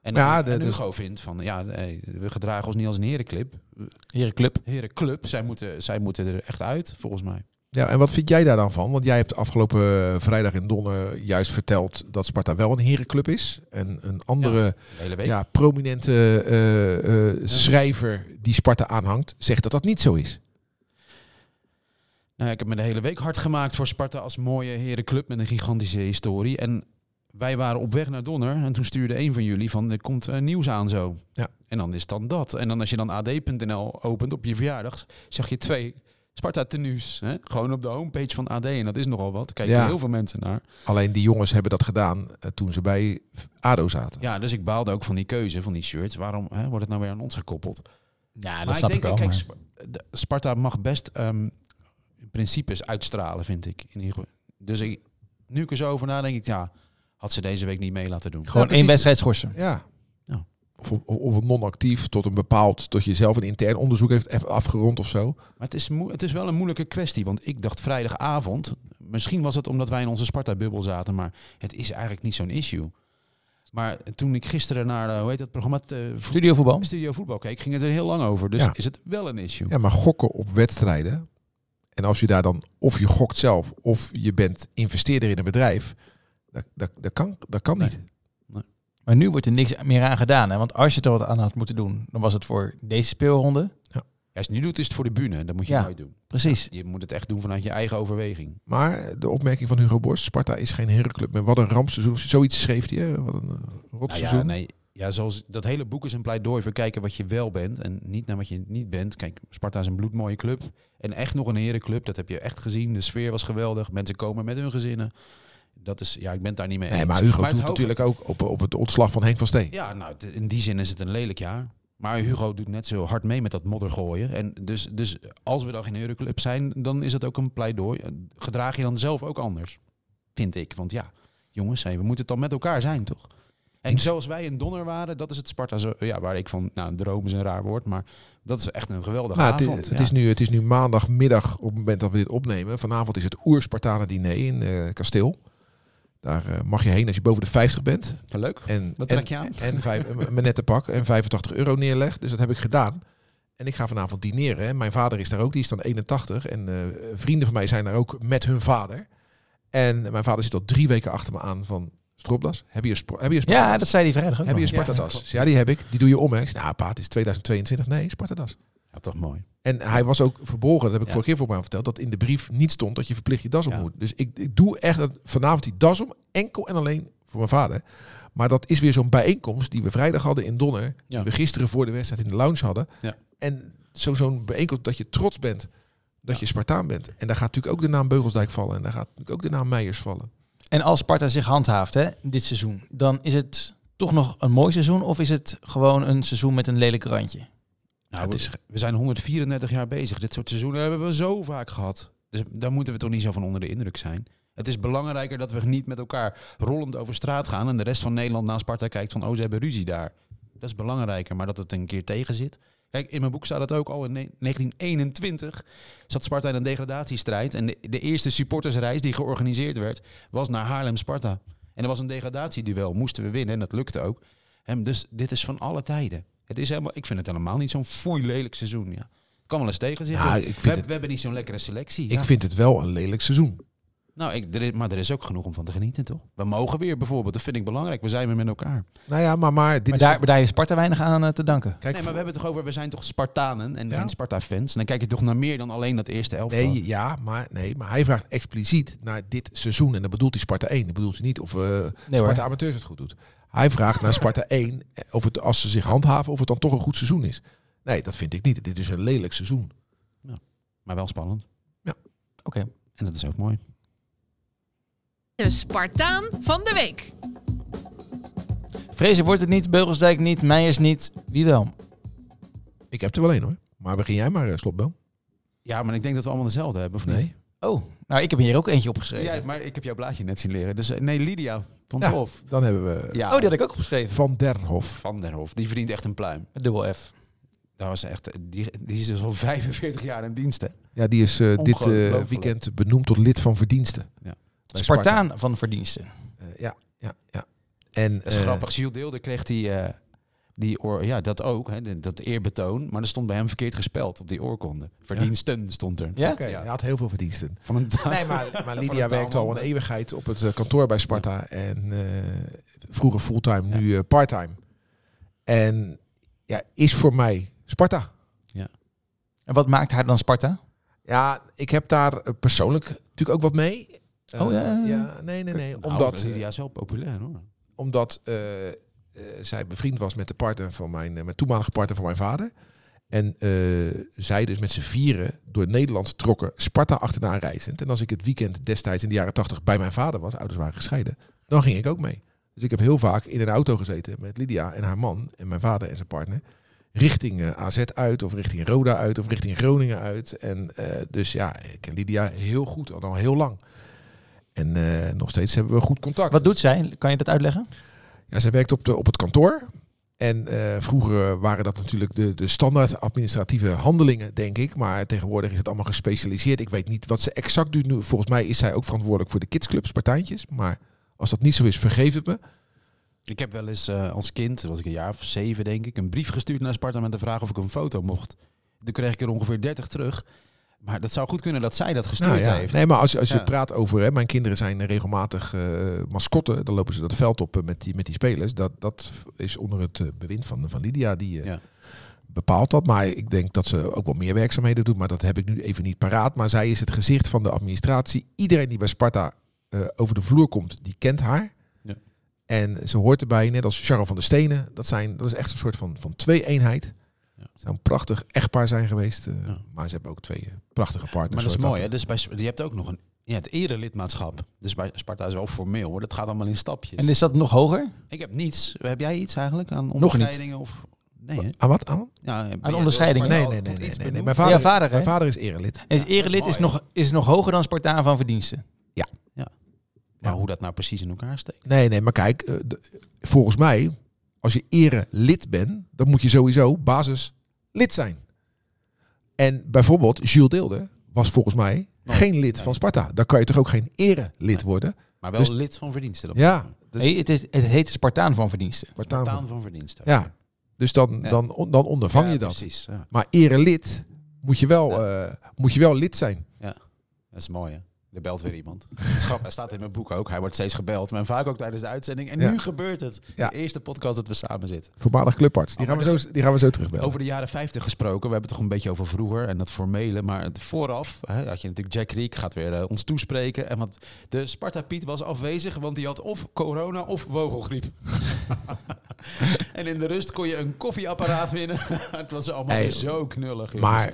[SPEAKER 3] En,
[SPEAKER 4] Ja,
[SPEAKER 3] en
[SPEAKER 4] de- dus-
[SPEAKER 3] Hugo vindt van, ja, hey, we gedragen ons niet als een herenclub.
[SPEAKER 2] Hier club.
[SPEAKER 3] Herenclub, zij moeten, zij moeten er echt uit, volgens mij.
[SPEAKER 4] Ja, en wat vind jij daar dan van? Want jij hebt afgelopen eh, vrijdag in Donner juist verteld dat Sparta wel een herenclub is. En een andere
[SPEAKER 3] De hele
[SPEAKER 4] ja,
[SPEAKER 3] week.
[SPEAKER 4] prominente eh, eh, schrijver die Sparta aanhangt, zegt dat dat niet zo is.
[SPEAKER 3] Nou, ik heb me de hele week hard gemaakt voor Sparta als mooie herenclub met een gigantische historie. En wij waren op weg naar Donner en toen stuurde een van jullie van er komt eh, nieuws aan zo.
[SPEAKER 4] Ja.
[SPEAKER 3] En dan is het dan dat. En dan als je dan ad.nl opent op je verjaardag, zag je twee Sparta tenues. Hè? Gewoon op de homepage van AD en dat is nogal wat. Daar kijken
[SPEAKER 4] Ja.
[SPEAKER 3] heel veel mensen naar.
[SPEAKER 4] Alleen die jongens hebben dat gedaan eh, toen ze bij ADO zaten.
[SPEAKER 3] Ja, dus ik baalde ook van die keuze, van die shirts. Waarom hè, wordt het nou weer aan ons gekoppeld?
[SPEAKER 2] Ja, dat
[SPEAKER 3] maar
[SPEAKER 2] snap
[SPEAKER 3] ik
[SPEAKER 2] ik,
[SPEAKER 3] denk,
[SPEAKER 2] ook.
[SPEAKER 3] kijk,
[SPEAKER 2] maar-
[SPEAKER 3] Sp- de- Sparta mag best ehm, principes uitstralen, vind ik. In ieder geval. Dus ik, nu ik er zo over nadenk, ik, ja, had ze deze week niet mee laten doen.
[SPEAKER 2] Gewoon
[SPEAKER 4] precies.
[SPEAKER 2] één wedstrijd schorsen.
[SPEAKER 4] Ja.
[SPEAKER 3] Ja.
[SPEAKER 4] Of, of, of non-actief tot een bepaald, tot je zelf een intern onderzoek heeft afgerond of zo.
[SPEAKER 3] Maar het is, moe- het is wel een moeilijke kwestie, want ik dacht vrijdagavond, misschien was het omdat wij in onze Sparta-bubbel zaten, maar het is eigenlijk niet zo'n issue. Maar toen ik gisteren naar, eh, hoe heet dat programma, eh, vo-
[SPEAKER 2] Studio voetbal.
[SPEAKER 3] Studio Voetbal keek, ging het er heel lang over. Dus
[SPEAKER 4] Ja.
[SPEAKER 3] is het wel een issue.
[SPEAKER 4] Ja, maar gokken op wedstrijden. En als je daar dan, of je gokt zelf, of je bent investeerder in een bedrijf. Dat, dat, dat kan, dat kan
[SPEAKER 3] Nee.
[SPEAKER 4] niet.
[SPEAKER 2] Maar nu wordt er niks meer aan gedaan. Hè? Want als je er wat aan had moeten doen, dan was het voor deze speelronde.
[SPEAKER 3] Ja, als je het nu doet, is het voor de bühne. Dat moet je
[SPEAKER 2] Ja.
[SPEAKER 3] nooit doen.
[SPEAKER 2] Precies.
[SPEAKER 3] Je moet het echt doen vanuit je eigen overweging.
[SPEAKER 4] Maar de opmerking van Hugo Borst, Sparta is geen herenclub. Maar wat een rampseizoen. Zoiets schreef hij, hè? Wat een eh,
[SPEAKER 3] Nou ja,
[SPEAKER 4] rotseizoen.
[SPEAKER 3] nee. Ja, zoals dat hele boek is een pleidooi voor kijken wat je wel bent en niet naar wat je niet bent. Kijk, Sparta is een bloedmooie club en echt nog een herenclub. Dat heb je echt gezien. De sfeer was geweldig. Mensen komen met hun gezinnen. Dat is, ja, ik ben het daar niet mee
[SPEAKER 4] nee,
[SPEAKER 3] eens.
[SPEAKER 4] maar Hugo
[SPEAKER 3] het
[SPEAKER 4] doet
[SPEAKER 3] hoofd-
[SPEAKER 4] natuurlijk ook op, op het ontslag van Henk van Steen.
[SPEAKER 3] Ja, nou, het- in die zin is het een lelijk jaar. Maar Hugo doet net zo hard mee met dat moddergooien. En dus, dus als we dan geen herenclub zijn, dan is dat ook een pleidooi. Gedraag je dan zelf ook anders, vind ik. Want ja, jongens, hé, we moeten het dan met elkaar zijn, toch? En
[SPEAKER 4] Eens.
[SPEAKER 3] zoals wij in Donner waren, dat is het Sparta, zo, ja, waar ik van, nou, droom is een raar woord, maar dat is echt een geweldige
[SPEAKER 4] Nou, het,
[SPEAKER 3] avond.
[SPEAKER 4] is- het
[SPEAKER 3] ja.
[SPEAKER 4] is nu, het is nu maandagmiddag op het moment dat we dit opnemen. Vanavond is het Oerspartanen diner in eh, Kasteel. Daar eh, mag je heen als je boven de 50 bent.
[SPEAKER 3] Leuk.
[SPEAKER 4] En,
[SPEAKER 3] Wat
[SPEAKER 4] en-
[SPEAKER 3] trek je aan?
[SPEAKER 4] En vijf, een- mijn nette pak en 85 euro neerleg. Dus dat heb ik gedaan. En ik ga vanavond dineren. Hè. Mijn vader is daar ook, die is dan 81. En eh, vrienden van mij zijn daar ook met hun vader. En mijn vader zit al drie weken achter me aan van... Stropdas, heb je een spro- heb je een Sparta-
[SPEAKER 2] Ja, dat zei die vrijdag ook.
[SPEAKER 4] heb je een
[SPEAKER 2] nog.
[SPEAKER 4] Spartatas? Ja, die heb ik. Die doe je om. hè. Ik zei, Nou, pa, het is 2022. Nee, Spartatas.
[SPEAKER 3] Ja, toch mooi.
[SPEAKER 4] En hij was ook verborgen, dat heb ik
[SPEAKER 3] Ja.
[SPEAKER 4] vorige keer voor mij verteld, dat in de brief niet stond dat je verplicht je das om
[SPEAKER 3] Ja.
[SPEAKER 4] moet. Dus ik, ik doe echt dat- vanavond die das om, enkel en alleen voor mijn vader. Maar dat is weer zo'n bijeenkomst die we vrijdag hadden in Donner,
[SPEAKER 3] Ja.
[SPEAKER 4] die we gisteren voor de wedstrijd in de lounge hadden.
[SPEAKER 3] Ja.
[SPEAKER 4] En zo- zo'n bijeenkomst dat je trots bent dat je Spartaan bent. En daar gaat natuurlijk ook de naam Beugelsdijk vallen. En daar gaat natuurlijk ook de naam Meijers vallen.
[SPEAKER 2] En als Sparta zich handhaaft hè, dit seizoen, dan is het toch nog een mooi seizoen of is het gewoon een seizoen met een lelijk randje?
[SPEAKER 3] Nou, we- we zijn 134 jaar bezig. Dit soort seizoenen hebben we zo vaak gehad. Dus daar moeten we toch niet zo van onder de indruk zijn. Het is belangrijker dat we niet met elkaar rollend over straat gaan en de rest van Nederland naar Sparta kijkt van oh ze hebben ruzie daar. Dat is belangrijker, maar dat het een keer tegen zit. Kijk, in mijn boek staat het ook al in ne- 1921 zat Sparta in een degradatiestrijd en de, de eerste supportersreis die georganiseerd werd was naar Haarlem-Sparta. En er was een degradatieduel, moesten we winnen en dat lukte ook. Hem, dus dit is van alle tijden. Het is helemaal, ik vind het helemaal niet zo'n foei lelijk seizoen. Ja. Het kan wel eens tegen zitten.
[SPEAKER 4] Nou, ik
[SPEAKER 3] we,
[SPEAKER 4] vind
[SPEAKER 3] hebben-
[SPEAKER 4] het-
[SPEAKER 3] we hebben niet zo'n lekkere selectie.
[SPEAKER 4] Ik
[SPEAKER 3] ja.
[SPEAKER 4] vind het wel een lelijk seizoen.
[SPEAKER 3] Nou, ik, er is- maar er is ook genoeg om van te genieten, toch? We mogen weer bijvoorbeeld, dat vind ik belangrijk. We zijn weer met elkaar.
[SPEAKER 4] Nou ja, maar, maar dit
[SPEAKER 2] Maar
[SPEAKER 4] is...
[SPEAKER 2] daar, daar heeft Sparta weinig aan eh, te danken.
[SPEAKER 4] kijk,
[SPEAKER 3] nee, maar we hebben het toch over, we zijn toch Spartanen en
[SPEAKER 4] Ja.
[SPEAKER 3] geen Sparta-fans. En dan kijk je toch naar meer dan alleen dat eerste elftal.
[SPEAKER 4] Nee, ja, maar, nee, maar hij vraagt expliciet naar dit seizoen. En dan bedoelt hij Sparta 1. Dan bedoelt hij niet of eh
[SPEAKER 2] Nee
[SPEAKER 4] Sparta
[SPEAKER 2] hoor.
[SPEAKER 4] Amateurs het goed doet. Hij vraagt naar Sparta 1 eh, of het, als ze zich handhaven, of het dan toch een goed seizoen is. Nee, dat vind ik niet. Dit is een lelijk seizoen.
[SPEAKER 3] Maar wel spannend.
[SPEAKER 4] Ja.
[SPEAKER 2] Oké.
[SPEAKER 3] En dat is ook mooi.
[SPEAKER 1] De Spartaan van de week.
[SPEAKER 2] Vrezen wordt het niet, Beugelsdijk niet, Meijers niet. Wie wel?
[SPEAKER 4] Ik heb er wel één hoor. Maar begin jij maar, eh, Slotboom.
[SPEAKER 3] Ja, maar ik denk dat we allemaal dezelfde hebben, of niet?
[SPEAKER 4] Nee.
[SPEAKER 2] Oh, nou ik heb hier ook eentje opgeschreven.
[SPEAKER 3] Ja, maar ik heb jouw blaadje net zien leren. Dus eh, nee, Lydia van der
[SPEAKER 4] Ja.
[SPEAKER 3] Hof.
[SPEAKER 4] Dan hebben we
[SPEAKER 3] Ja,
[SPEAKER 2] Oh, die had ik ook opgeschreven.
[SPEAKER 4] Van der Hof.
[SPEAKER 3] Van der Hof. Die verdient echt een pluim.
[SPEAKER 2] Dubbel F.
[SPEAKER 3] Daar was echt, die, die is dus al 45 jaar in dienst, hè?
[SPEAKER 4] Ja, die is eh, dit eh,
[SPEAKER 3] Ongelooflijk.
[SPEAKER 4] weekend benoemd tot lid van verdiensten.
[SPEAKER 3] Ja.
[SPEAKER 4] Bij Sparta.
[SPEAKER 2] Spartaan van verdiensten.
[SPEAKER 4] Eh, ja, ja, ja. En
[SPEAKER 3] Dat is
[SPEAKER 4] eh,
[SPEAKER 3] grappig. Jules Deelder kreeg die, eh, die oor, ja, dat ook, hè, de- dat eerbetoon. Maar dat stond bij hem verkeerd gespeld op die oorkonde. Verdiensten stond er.
[SPEAKER 2] Ja?
[SPEAKER 4] oké,
[SPEAKER 3] Ja.
[SPEAKER 4] hij had heel veel verdiensten.
[SPEAKER 3] Van een taal.
[SPEAKER 4] Nee, maar, maar Lydia
[SPEAKER 3] het
[SPEAKER 4] werkt al een
[SPEAKER 3] allemaal.
[SPEAKER 4] eeuwigheid op het eh, kantoor bij Sparta. En eh, vroeger fulltime, nu eh, parttime. En ja, is voor mij Sparta.
[SPEAKER 2] En wat maakt haar dan Sparta?
[SPEAKER 4] Ja, ik heb daar eh, persoonlijk natuurlijk ook wat mee. Eh,
[SPEAKER 2] Oh, ja, ja, ja.
[SPEAKER 4] nee, nee, nee.
[SPEAKER 3] Nou,
[SPEAKER 4] Omdat, eh,
[SPEAKER 3] Lydia is wel populair hoor.
[SPEAKER 4] omdat eh, eh, zij bevriend was met de partner van mijn, eh, mijn toenmalige partner van mijn vader. En eh, zij dus met z'n vieren door Nederland trokken, Sparta achterna reizend. En als ik het weekend destijds in de jaren tachtig bij mijn vader was, ouders waren gescheiden, dan ging ik ook mee. Dus ik heb heel vaak in een auto gezeten met Lydia en haar man en mijn vader en zijn partner. Richting eh, AZ uit, of richting Roda uit, of richting Groningen uit. En eh, dus ja, ik ken Lydia heel goed, al, al heel lang. En eh, nog steeds hebben we goed contact.
[SPEAKER 2] Wat doet zij? Kan je dat uitleggen?
[SPEAKER 4] Ja, zij werkt op, de, op het kantoor. En eh, vroeger waren dat natuurlijk de, de standaard administratieve handelingen, denk ik. Maar tegenwoordig is het allemaal gespecialiseerd. Ik weet niet wat ze exact doet nu. Volgens mij is zij ook verantwoordelijk voor de kidsclubs, partijtjes. Maar als dat niet zo is, vergeef het me.
[SPEAKER 3] Ik heb wel eens eh, als kind, toen was ik een jaar of zeven denk ik, een brief gestuurd naar Sparta met de vraag of ik een foto mocht. Toen kreeg ik er ongeveer 30 terug. Maar dat zou goed kunnen dat zij dat gestuurd
[SPEAKER 4] Nou ja.
[SPEAKER 3] heeft.
[SPEAKER 4] Nee, maar als, je- als je
[SPEAKER 3] Ja.
[SPEAKER 4] praat over, hè, mijn kinderen zijn eh, regelmatig eh mascotten. Dan lopen ze dat veld op eh, met, die, met die spelers. Dat, dat is onder het eh, bewind van, van Lydia. Die eh,
[SPEAKER 3] Ja.
[SPEAKER 4] bepaalt dat. Maar ik denk dat ze ook wel meer werkzaamheden doet. Maar dat heb ik nu even niet paraat. Maar zij is het gezicht van de administratie. Iedereen die bij Sparta eh, over de vloer komt, die kent haar.
[SPEAKER 3] Ja.
[SPEAKER 4] En ze hoort erbij, net als Charles van der Stenen. Dat, zijn, dat is echt een soort van, van twee-eenheid.
[SPEAKER 3] Ja.
[SPEAKER 4] Ze zou een prachtig echtpaar zijn geweest. eh,
[SPEAKER 3] Ja.
[SPEAKER 4] Maar ze hebben ook twee eh, prachtige partners.
[SPEAKER 3] Maar dat is
[SPEAKER 4] zoals
[SPEAKER 3] mooi. Hè? Dus bij, Sp- je hebt ook nog een, ja, het erelidmaatschap. Dus bij Sparta is wel formeel hoor. Dat gaat allemaal in stapjes.
[SPEAKER 2] En is dat nog hoger?
[SPEAKER 3] Ik heb niets. Heb jij iets eigenlijk aan
[SPEAKER 2] niet.
[SPEAKER 3] onderscheidingen? Of... Nee, hè?
[SPEAKER 4] Aan Ah, wat? Aan wat?
[SPEAKER 3] Ja, ben jij door
[SPEAKER 2] onderscheidingen?
[SPEAKER 3] Sparta
[SPEAKER 4] Nee,
[SPEAKER 3] al
[SPEAKER 4] nee, nee,
[SPEAKER 3] tot
[SPEAKER 4] nee,
[SPEAKER 3] nou, iets
[SPEAKER 4] nee, nee.
[SPEAKER 3] benoemd?
[SPEAKER 4] Mijn vader,
[SPEAKER 2] Ja, vader, hè?
[SPEAKER 4] mijn vader is erelid.
[SPEAKER 2] En is
[SPEAKER 3] Ja, dat is
[SPEAKER 2] erelid is,
[SPEAKER 3] mooi.
[SPEAKER 2] nog, is nog hoger dan Spartaan van verdiensten.
[SPEAKER 3] Maar
[SPEAKER 4] Ja.
[SPEAKER 3] hoe dat nou precies in elkaar steekt.
[SPEAKER 4] Nee, nee, maar kijk, eh, de- volgens mij, als je erelid bent, dan moet je sowieso basislid zijn. En bijvoorbeeld Jules Deelde was volgens mij
[SPEAKER 3] Nee,
[SPEAKER 4] geen lid
[SPEAKER 3] nee.
[SPEAKER 4] van Sparta. Dan kan je toch ook geen erelid
[SPEAKER 3] Nee.
[SPEAKER 4] worden?
[SPEAKER 3] Maar wel
[SPEAKER 4] Dus-
[SPEAKER 3] lid van verdiensten. dan.
[SPEAKER 4] Ja, dus
[SPEAKER 2] nee, het, is- het heet Spartaan van verdiensten.
[SPEAKER 4] Spartaan.
[SPEAKER 3] Spartaan van verdiensten.
[SPEAKER 4] Ja, dus dan,
[SPEAKER 3] Ja.
[SPEAKER 4] dan, on- dan ondervang
[SPEAKER 3] Ja,
[SPEAKER 4] je dat.
[SPEAKER 3] Precies. Ja.
[SPEAKER 4] Maar erelid moet je, wel, eh, moet je wel lid zijn.
[SPEAKER 3] Dat is mooi hè. Er belt weer iemand. Dat is grappig. Hij staat in mijn boek ook. Hij wordt steeds gebeld. Maar vaak ook tijdens de uitzending. En
[SPEAKER 4] Ja.
[SPEAKER 3] nu gebeurt het.
[SPEAKER 4] Ja.
[SPEAKER 3] De eerste podcast dat we samen zitten.
[SPEAKER 4] Voormalig clubarts. Die,
[SPEAKER 3] Oh,
[SPEAKER 4] gaan, we
[SPEAKER 3] maar
[SPEAKER 4] zo, die gaan we zo terugbellen.
[SPEAKER 3] Over de jaren 50 gesproken. We hebben het toch een beetje over vroeger en dat formele. Maar het vooraf hè, had je natuurlijk Jack Riek gaat weer eh, ons toespreken. En want de Sparta Piet was afwezig, want die had of corona of wogelgriep. en in de rust kon je een koffieapparaat winnen. het was allemaal
[SPEAKER 4] Hey,
[SPEAKER 3] weer zo knullig. jongens.
[SPEAKER 4] Maar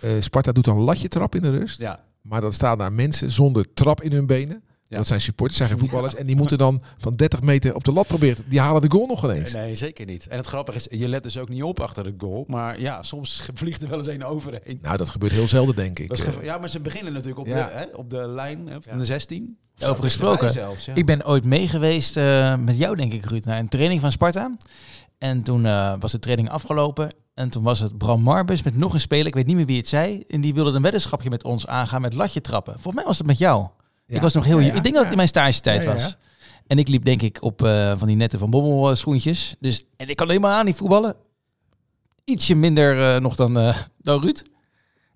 [SPEAKER 4] eh, Sparta doet dan een latje trap in de rust.
[SPEAKER 3] Ja.
[SPEAKER 4] Maar dan staan daar mensen zonder trap in hun benen.
[SPEAKER 3] Ja.
[SPEAKER 4] Dat zijn supporters, zijn geen voetballers. En die moeten dan van 30 meter op de lat proberen. te- Die halen de goal nog ineens.
[SPEAKER 3] Nee, zeker niet. En het grappige is, je let dus ook niet op achter de goal. Maar ja, soms vliegt er wel eens een overheen.
[SPEAKER 4] Nou, dat gebeurt heel zelden, denk ik.
[SPEAKER 3] Dat is
[SPEAKER 4] Eh,
[SPEAKER 3] geva- ja, maar ze beginnen natuurlijk op,
[SPEAKER 4] Ja.
[SPEAKER 3] de, hè, op de lijn hè, van de 16. Of
[SPEAKER 2] Over
[SPEAKER 3] zo, dichterbij
[SPEAKER 2] gesproken.
[SPEAKER 3] Zelfs, ja.
[SPEAKER 2] Ik ben ooit meegeweest eh, met jou, denk ik, Ruud, naar een training van Sparta. En toen eh, was de training afgelopen. En toen was het Bram Marbus met nog een speler, ik weet niet meer wie het zei. En die wilde een weddenschapje met ons aangaan met latje trappen. Volgens mij was het met jou.
[SPEAKER 4] ja.
[SPEAKER 2] Ik was nog heel...
[SPEAKER 4] Ja, ja,
[SPEAKER 2] ik denk dat het in mijn stage tijd
[SPEAKER 4] Ja, ja,
[SPEAKER 2] was.
[SPEAKER 4] ja.
[SPEAKER 2] En ik liep denk ik op eh, van die nette Van Bommel eh, schoentjes. Dus, en ik kan helemaal aan die voetballen. Ietsje minder eh, nog dan, eh, dan Ruud.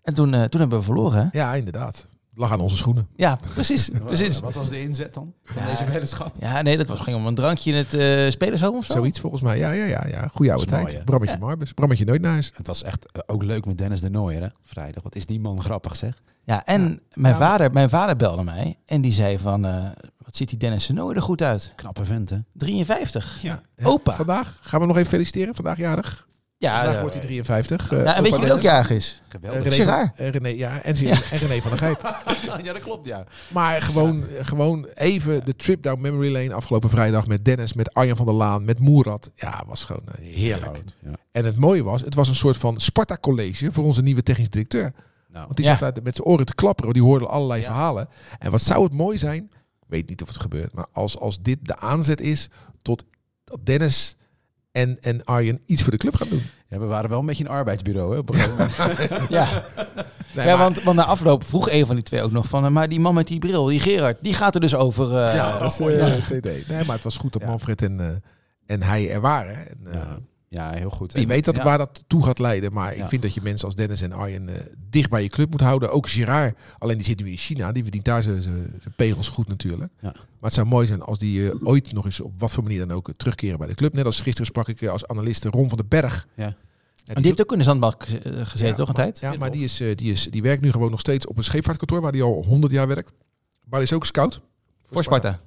[SPEAKER 2] En toen, eh, toen hebben we verloren. hè?
[SPEAKER 4] Ja, inderdaad. Lag aan onze schoenen.
[SPEAKER 2] Ja, precies. precies.
[SPEAKER 3] Wat was de inzet dan van
[SPEAKER 2] Ja.
[SPEAKER 3] deze weddenschap?
[SPEAKER 2] Ja, nee, dat was, ging om een drankje in het eh spelershoofd of zo.
[SPEAKER 4] Zoiets volgens mij. Ja, ja, ja. ja. Goeie
[SPEAKER 3] Dat is
[SPEAKER 4] oude tijd.
[SPEAKER 3] mooi, hè?
[SPEAKER 4] Brammetje Marbus. Brammetje nooit naar huis.
[SPEAKER 3] Het was echt eh, ook leuk met Dennis de Nooier, hè? Vrijdag. Wat is die man grappig, zeg.
[SPEAKER 2] Ja, en Mijn,
[SPEAKER 4] Ja, maar-
[SPEAKER 2] vader, mijn vader belde mij en die zei van, eh, wat ziet die Dennis Senoy er goed uit?
[SPEAKER 3] Knappe vent, hè?
[SPEAKER 2] 53.
[SPEAKER 4] Ja.
[SPEAKER 2] Opa.
[SPEAKER 4] Vandaag gaan we nog even feliciteren. Vandaag jarig.
[SPEAKER 2] Ja,
[SPEAKER 4] Vandaag
[SPEAKER 2] eh,
[SPEAKER 4] wordt hij 53. Eh,
[SPEAKER 2] nou, en weet je
[SPEAKER 4] opa
[SPEAKER 2] wie ook
[SPEAKER 4] Dennis.
[SPEAKER 2] jarig is?
[SPEAKER 4] Eh,
[SPEAKER 3] Geweldig.
[SPEAKER 4] René,
[SPEAKER 2] Zeg
[SPEAKER 4] van-
[SPEAKER 2] haar.
[SPEAKER 4] eh, René, ja, en,
[SPEAKER 2] Ja.
[SPEAKER 4] en René van der Gijp.
[SPEAKER 3] ja, dat klopt, ja.
[SPEAKER 4] Maar gewoon, gewoon even de trip down memory lane afgelopen vrijdag met Dennis, met Arjan van der Laan, met Moerad. Ja, was gewoon eh, heerlijk.
[SPEAKER 3] Ja.
[SPEAKER 4] En het mooie was, het was een soort van Sparta-college voor onze nieuwe technisch directeur.
[SPEAKER 3] Nou,
[SPEAKER 4] Want die
[SPEAKER 2] Ja.
[SPEAKER 4] zat daar met zijn oren te klapperen, want die hoorde allerlei
[SPEAKER 3] Ja.
[SPEAKER 4] verhalen. En wat zou het mooi zijn, ik weet niet of het gebeurt, maar als, als dit de aanzet is tot dat Dennis en, en Arjen iets voor de club gaan doen.
[SPEAKER 3] ja, we waren wel een beetje een arbeidsbureau, hè? op een gegeven moment.
[SPEAKER 2] Ja,
[SPEAKER 4] Nee,
[SPEAKER 2] ja
[SPEAKER 4] maar-
[SPEAKER 2] want, want na afloop vroeg een van die twee ook nog van, eh, maar die man met die bril, die Gerard, die gaat er dus over. eh,
[SPEAKER 4] ja, dat is, eh, het idee. Nee, maar het was goed dat
[SPEAKER 3] Ja.
[SPEAKER 4] Manfred en, eh, en hij er waren. hè. En, eh,
[SPEAKER 3] ja. ja, heel goed.
[SPEAKER 4] Wie
[SPEAKER 3] En-
[SPEAKER 4] weet dat,
[SPEAKER 3] ja.
[SPEAKER 4] waar dat toe gaat leiden. Maar
[SPEAKER 3] Ja.
[SPEAKER 4] ik vind dat je mensen als Dennis en Arjen eh, dicht bij je club moet houden. Ook Girard. Alleen die zit nu in China. Die verdient daar zijn- zijn zijn pegels goed natuurlijk.
[SPEAKER 3] Ja.
[SPEAKER 4] Maar het zou mooi zijn als die eh, ooit nog eens op wat voor manier dan ook eh, terugkeren bij de club. Net als gisteren sprak ik eh, als analist Ron van den Berg.
[SPEAKER 3] Ja.
[SPEAKER 4] En
[SPEAKER 2] en die heeft ook in de zandbak eh, gezeten,
[SPEAKER 4] Ja,
[SPEAKER 2] toch, een
[SPEAKER 4] maar-
[SPEAKER 2] tijd?
[SPEAKER 4] Ja, maar die, is, eh, die, is, die werkt nu gewoon nog steeds op een scheepvaartkantoor waar hij al 100 jaar werkt. Maar hij is ook scout.
[SPEAKER 2] Voor Sparta.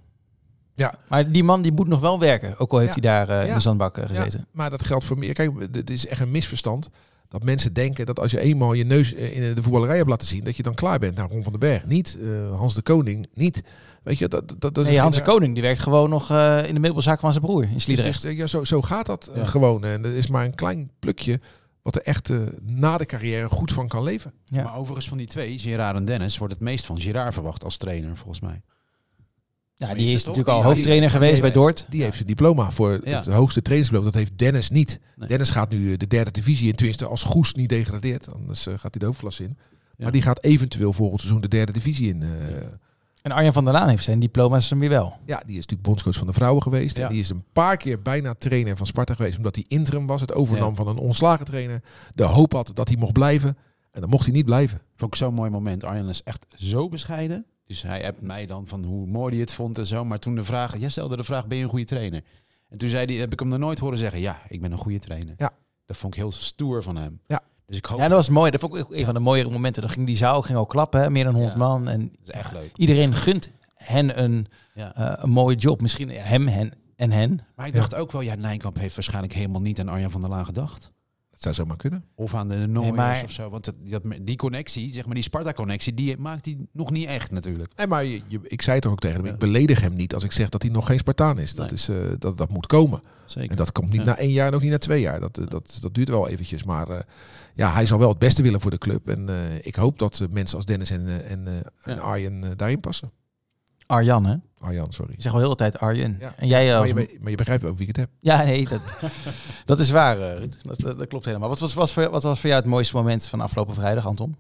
[SPEAKER 4] Ja.
[SPEAKER 2] Maar die man die moet nog wel werken, ook al heeft
[SPEAKER 4] Ja.
[SPEAKER 2] hij daar eh, in
[SPEAKER 4] Ja.
[SPEAKER 2] de zandbak eh,
[SPEAKER 4] Ja,
[SPEAKER 2] gezeten.
[SPEAKER 4] maar dat geldt voor meer. Kijk, het is echt een misverstand dat mensen denken dat als je eenmaal je neus eh, in de voetballerij hebt laten zien, dat je dan klaar bent. Nou, Ron van den Berg niet, eh, Hans de Koning niet. Weet je, dat, dat, dat is
[SPEAKER 2] Nee,
[SPEAKER 4] een
[SPEAKER 2] Hans de
[SPEAKER 4] genera-
[SPEAKER 2] Koning, die werkt gewoon nog eh, in de meubelzaak van zijn broer in Sliedrecht.
[SPEAKER 4] Dus, eh, ja, zo, zo gaat dat eh,
[SPEAKER 3] Ja.
[SPEAKER 4] gewoon. En er is maar een klein plukje wat er echt eh, na de carrière goed van kan leven.
[SPEAKER 2] Ja.
[SPEAKER 3] Maar overigens van die twee, Gerard en Dennis, wordt het meest van Gerard verwacht als trainer, volgens mij.
[SPEAKER 2] Ja,
[SPEAKER 3] die
[SPEAKER 2] die
[SPEAKER 3] is
[SPEAKER 2] is
[SPEAKER 3] het
[SPEAKER 2] natuurlijk
[SPEAKER 3] ook
[SPEAKER 2] al
[SPEAKER 3] niet.
[SPEAKER 2] hoofdtrainer
[SPEAKER 3] Die-
[SPEAKER 2] geweest bij
[SPEAKER 3] die-
[SPEAKER 2] Dordt.
[SPEAKER 4] Die heeft zijn diploma voor
[SPEAKER 3] Ja.
[SPEAKER 4] het hoogste trainingsdiploma. Dat heeft Dennis niet.
[SPEAKER 3] Nee.
[SPEAKER 4] Dennis gaat nu eh, de derde divisie in. Tenminste, als Goes niet degradeert. Anders eh, gaat hij de hoofdklasse in.
[SPEAKER 3] Ja.
[SPEAKER 4] Maar die gaat eventueel volgend seizoen de derde divisie in. eh,
[SPEAKER 2] En Arjan van der Laan heeft zijn diploma's hem weer wel.
[SPEAKER 4] Ja, die is natuurlijk bondscoach van de vrouwen geweest.
[SPEAKER 3] Ja.
[SPEAKER 4] En die is een paar keer bijna trainer van Sparta geweest. Omdat hij interim was. Het overnam
[SPEAKER 3] Ja.
[SPEAKER 4] van een ontslagen trainer. De hoop had dat hij mocht blijven. En dan mocht hij niet blijven.
[SPEAKER 3] Vond ik zo'n mooi moment. Arjen is echt zo bescheiden. Dus hij hebt mij dan van hoe mooi hij het vond en zo. Maar toen de vraag, jij stelde de vraag, ben je een goede trainer? En toen zei hij, heb ik hem nog nooit horen zeggen, ja, ik ben een goede trainer.
[SPEAKER 4] Ja.
[SPEAKER 3] Dat vond ik heel stoer van hem.
[SPEAKER 4] Ja.
[SPEAKER 3] Dus ik
[SPEAKER 2] Ja,
[SPEAKER 3] hoop,
[SPEAKER 2] dat was mooi. Dat vond ik ook een van de mooiere momenten. Dan ging die zaal ging al klappen, hè, meer dan 100
[SPEAKER 3] Ja.
[SPEAKER 2] man. En
[SPEAKER 3] dat is echt leuk.
[SPEAKER 2] iedereen gunt hen een,
[SPEAKER 3] Ja.
[SPEAKER 2] eh, een mooie job. Misschien hem hen en hen.
[SPEAKER 3] Maar ik dacht ook wel, ja, Nijkamp heeft waarschijnlijk helemaal niet aan Arjan van der Laan gedacht.
[SPEAKER 4] Dat zou zomaar kunnen.
[SPEAKER 3] Of aan de Nooiers
[SPEAKER 2] maar-
[SPEAKER 3] of zo. Want dat, dat- die connectie, zeg maar die Sparta-connectie, die maakt hij nog niet echt natuurlijk.
[SPEAKER 4] Nee, maar je, je- ik zei toch ook tegen hem. Ik beledig hem niet als ik zeg dat hij nog geen Spartaan is. Dat,
[SPEAKER 3] Nee.
[SPEAKER 4] is, eh, dat, dat moet komen.
[SPEAKER 3] Zeker.
[SPEAKER 4] En dat komt niet
[SPEAKER 3] Ja.
[SPEAKER 4] na één jaar en ook niet na twee jaar. Dat, eh, dat, dat duurt wel eventjes. Maar eh, ja, hij zal wel het beste willen voor de club. En eh, ik hoop dat eh, mensen als Dennis en, eh, en, eh, en
[SPEAKER 3] Ja.
[SPEAKER 4] Arjen eh, daarin passen.
[SPEAKER 2] Arjan, hè?
[SPEAKER 4] Arjan, sorry.
[SPEAKER 2] Ik zeg al heel de tijd Arjen.
[SPEAKER 4] Ja.
[SPEAKER 2] En jij
[SPEAKER 4] Maar
[SPEAKER 2] als
[SPEAKER 4] je, be- maar je begrijpt ook wie ik het heb.
[SPEAKER 2] Ja, nee, dat, dat is waar. eh, Ruud. Dat, dat, dat klopt helemaal. Wat was, was voor, wat was voor jou het mooiste moment van afgelopen vrijdag, Anton?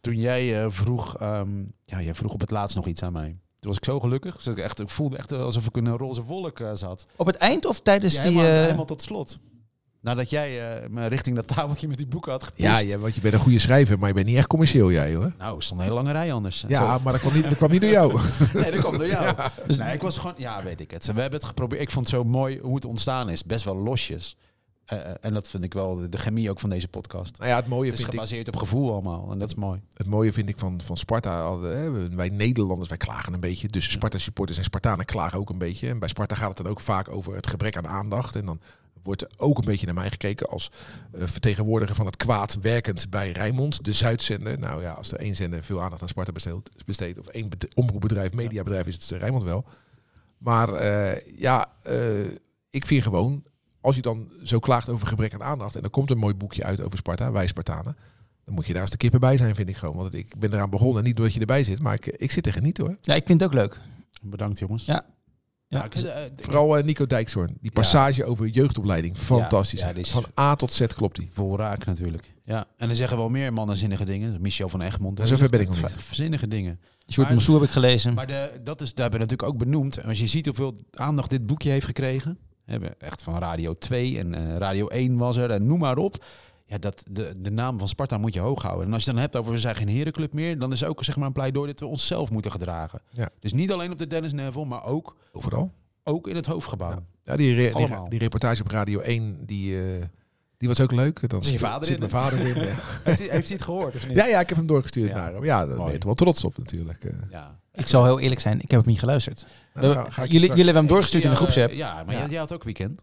[SPEAKER 3] toen jij eh, vroeg, ehm, ja, jij vroeg op het laatst nog iets aan mij. Toen was ik zo gelukkig. Dus ik, echt, ik voelde echt alsof ik in een roze wolk eh, zat.
[SPEAKER 2] Op het eind of tijdens
[SPEAKER 3] Ja,
[SPEAKER 2] die...
[SPEAKER 3] helemaal,
[SPEAKER 2] eh,
[SPEAKER 3] helemaal tot slot. Nadat jij eh, me richting dat tafeltje met die boeken had gepast.
[SPEAKER 4] Ja, ja, want je bent een goede schrijver, maar je bent niet echt commercieel, jij hoor.
[SPEAKER 3] Nou, er stond een hele lange rij anders.
[SPEAKER 4] Ja, maar dat kwam niet, dat kwam niet door jou.
[SPEAKER 3] Zo. Nee, dat komt door jou. Dus nee, ik was gewoon... Ja, weet ik het. We hebben het geprobeerd. Ik vond het zo mooi hoe het ontstaan is. Best wel losjes. Eh, eh, en dat vind ik wel de, de chemie ook van deze podcast.
[SPEAKER 4] Nou ja, het mooie
[SPEAKER 3] Het is
[SPEAKER 4] vind ik,
[SPEAKER 3] gebaseerd op gevoel allemaal. En dat is mooi.
[SPEAKER 4] het mooie vind ik van, van Sparta. hadden, hè, wij Nederlanders, wij klagen een beetje. Dus Sparta supporters en Spartanen klagen ook een beetje. En bij Sparta gaat het dan ook vaak over het gebrek aan aandacht. En dan wordt er ook een beetje naar mij gekeken als eh, vertegenwoordiger van het kwaad werkend bij Rijnmond, de Zuidzender. Nou ja, als er één zender veel aandacht aan Sparta besteedt, besteedt of één bed- omroepbedrijf, mediabedrijf, is het eh, Rijnmond wel. Maar eh, ja, eh, ik vind gewoon, als je dan zo klaagt over gebrek aan aandacht, en er komt een mooi boekje uit over Sparta, Wij Spartanen, dan moet je daar eens de kippen bij zijn, vind ik gewoon. Want ik ben eraan begonnen, niet doordat je erbij zit, maar ik, ik zit er geniet hoor.
[SPEAKER 2] Ja, ik vind het ook leuk.
[SPEAKER 3] Bedankt jongens.
[SPEAKER 2] Ja. Ja.
[SPEAKER 3] ik- eh, ik-
[SPEAKER 4] Vooral eh, Nico Dijkshoorn. Die passage over jeugdopleiding. Fantastisch.
[SPEAKER 3] Ja, ja, die is-
[SPEAKER 4] Van A tot Z klopt die.
[SPEAKER 3] Vol raak natuurlijk. Ja, en er zeggen wel meer mannen zinnige dingen. Michel van Egmond.
[SPEAKER 4] Ja, zover ben ik nog
[SPEAKER 3] Echt Zinnige dingen.
[SPEAKER 2] Sjoerd
[SPEAKER 3] Maar-
[SPEAKER 2] Mansour heb ik gelezen.
[SPEAKER 3] Maar de, dat is daarbij natuurlijk ook benoemd. En als je ziet hoeveel aandacht dit boekje heeft gekregen. We hebben echt van Radio 2 en eh, Radio 1 was er. En noem maar op. Ja, dat, de, de naam van Sparta moet je hoog houden. En als je het dan hebt over we zijn geen herenclub meer. Dan is ook zeg maar, een pleidooi dat we onszelf moeten gedragen.
[SPEAKER 4] Ja.
[SPEAKER 3] Dus niet alleen op de Dennis Neville, maar ook,
[SPEAKER 4] Overal.
[SPEAKER 3] ook in het hoofdgebouw.
[SPEAKER 4] Ja, die, re- die,
[SPEAKER 3] Allemaal.
[SPEAKER 4] die reportage op Radio 1, die, eh, die was ook leuk. Dan
[SPEAKER 3] Zit je vader
[SPEAKER 4] zit
[SPEAKER 3] in?
[SPEAKER 4] mijn vader in. ja.
[SPEAKER 3] Heeft, hij, heeft hij het gehoord of niet?
[SPEAKER 4] ja, ja, ik heb hem doorgestuurd
[SPEAKER 3] Ja.
[SPEAKER 4] naar hem. Ja, daar ben
[SPEAKER 3] Mooi.
[SPEAKER 4] je toch wel trots op natuurlijk. eh. Nou,
[SPEAKER 3] Ja.
[SPEAKER 2] Ik zal heel eerlijk zijn, ik heb het niet geluisterd.
[SPEAKER 4] nou,
[SPEAKER 2] We-
[SPEAKER 4] ga ik
[SPEAKER 2] jullie,
[SPEAKER 4] je straks-
[SPEAKER 2] jullie hebben hem doorgestuurd in de
[SPEAKER 3] Ja, eh,
[SPEAKER 2] groepsapp.
[SPEAKER 3] Ja, maar
[SPEAKER 4] Ja.
[SPEAKER 3] Jij, jij had ook weekend.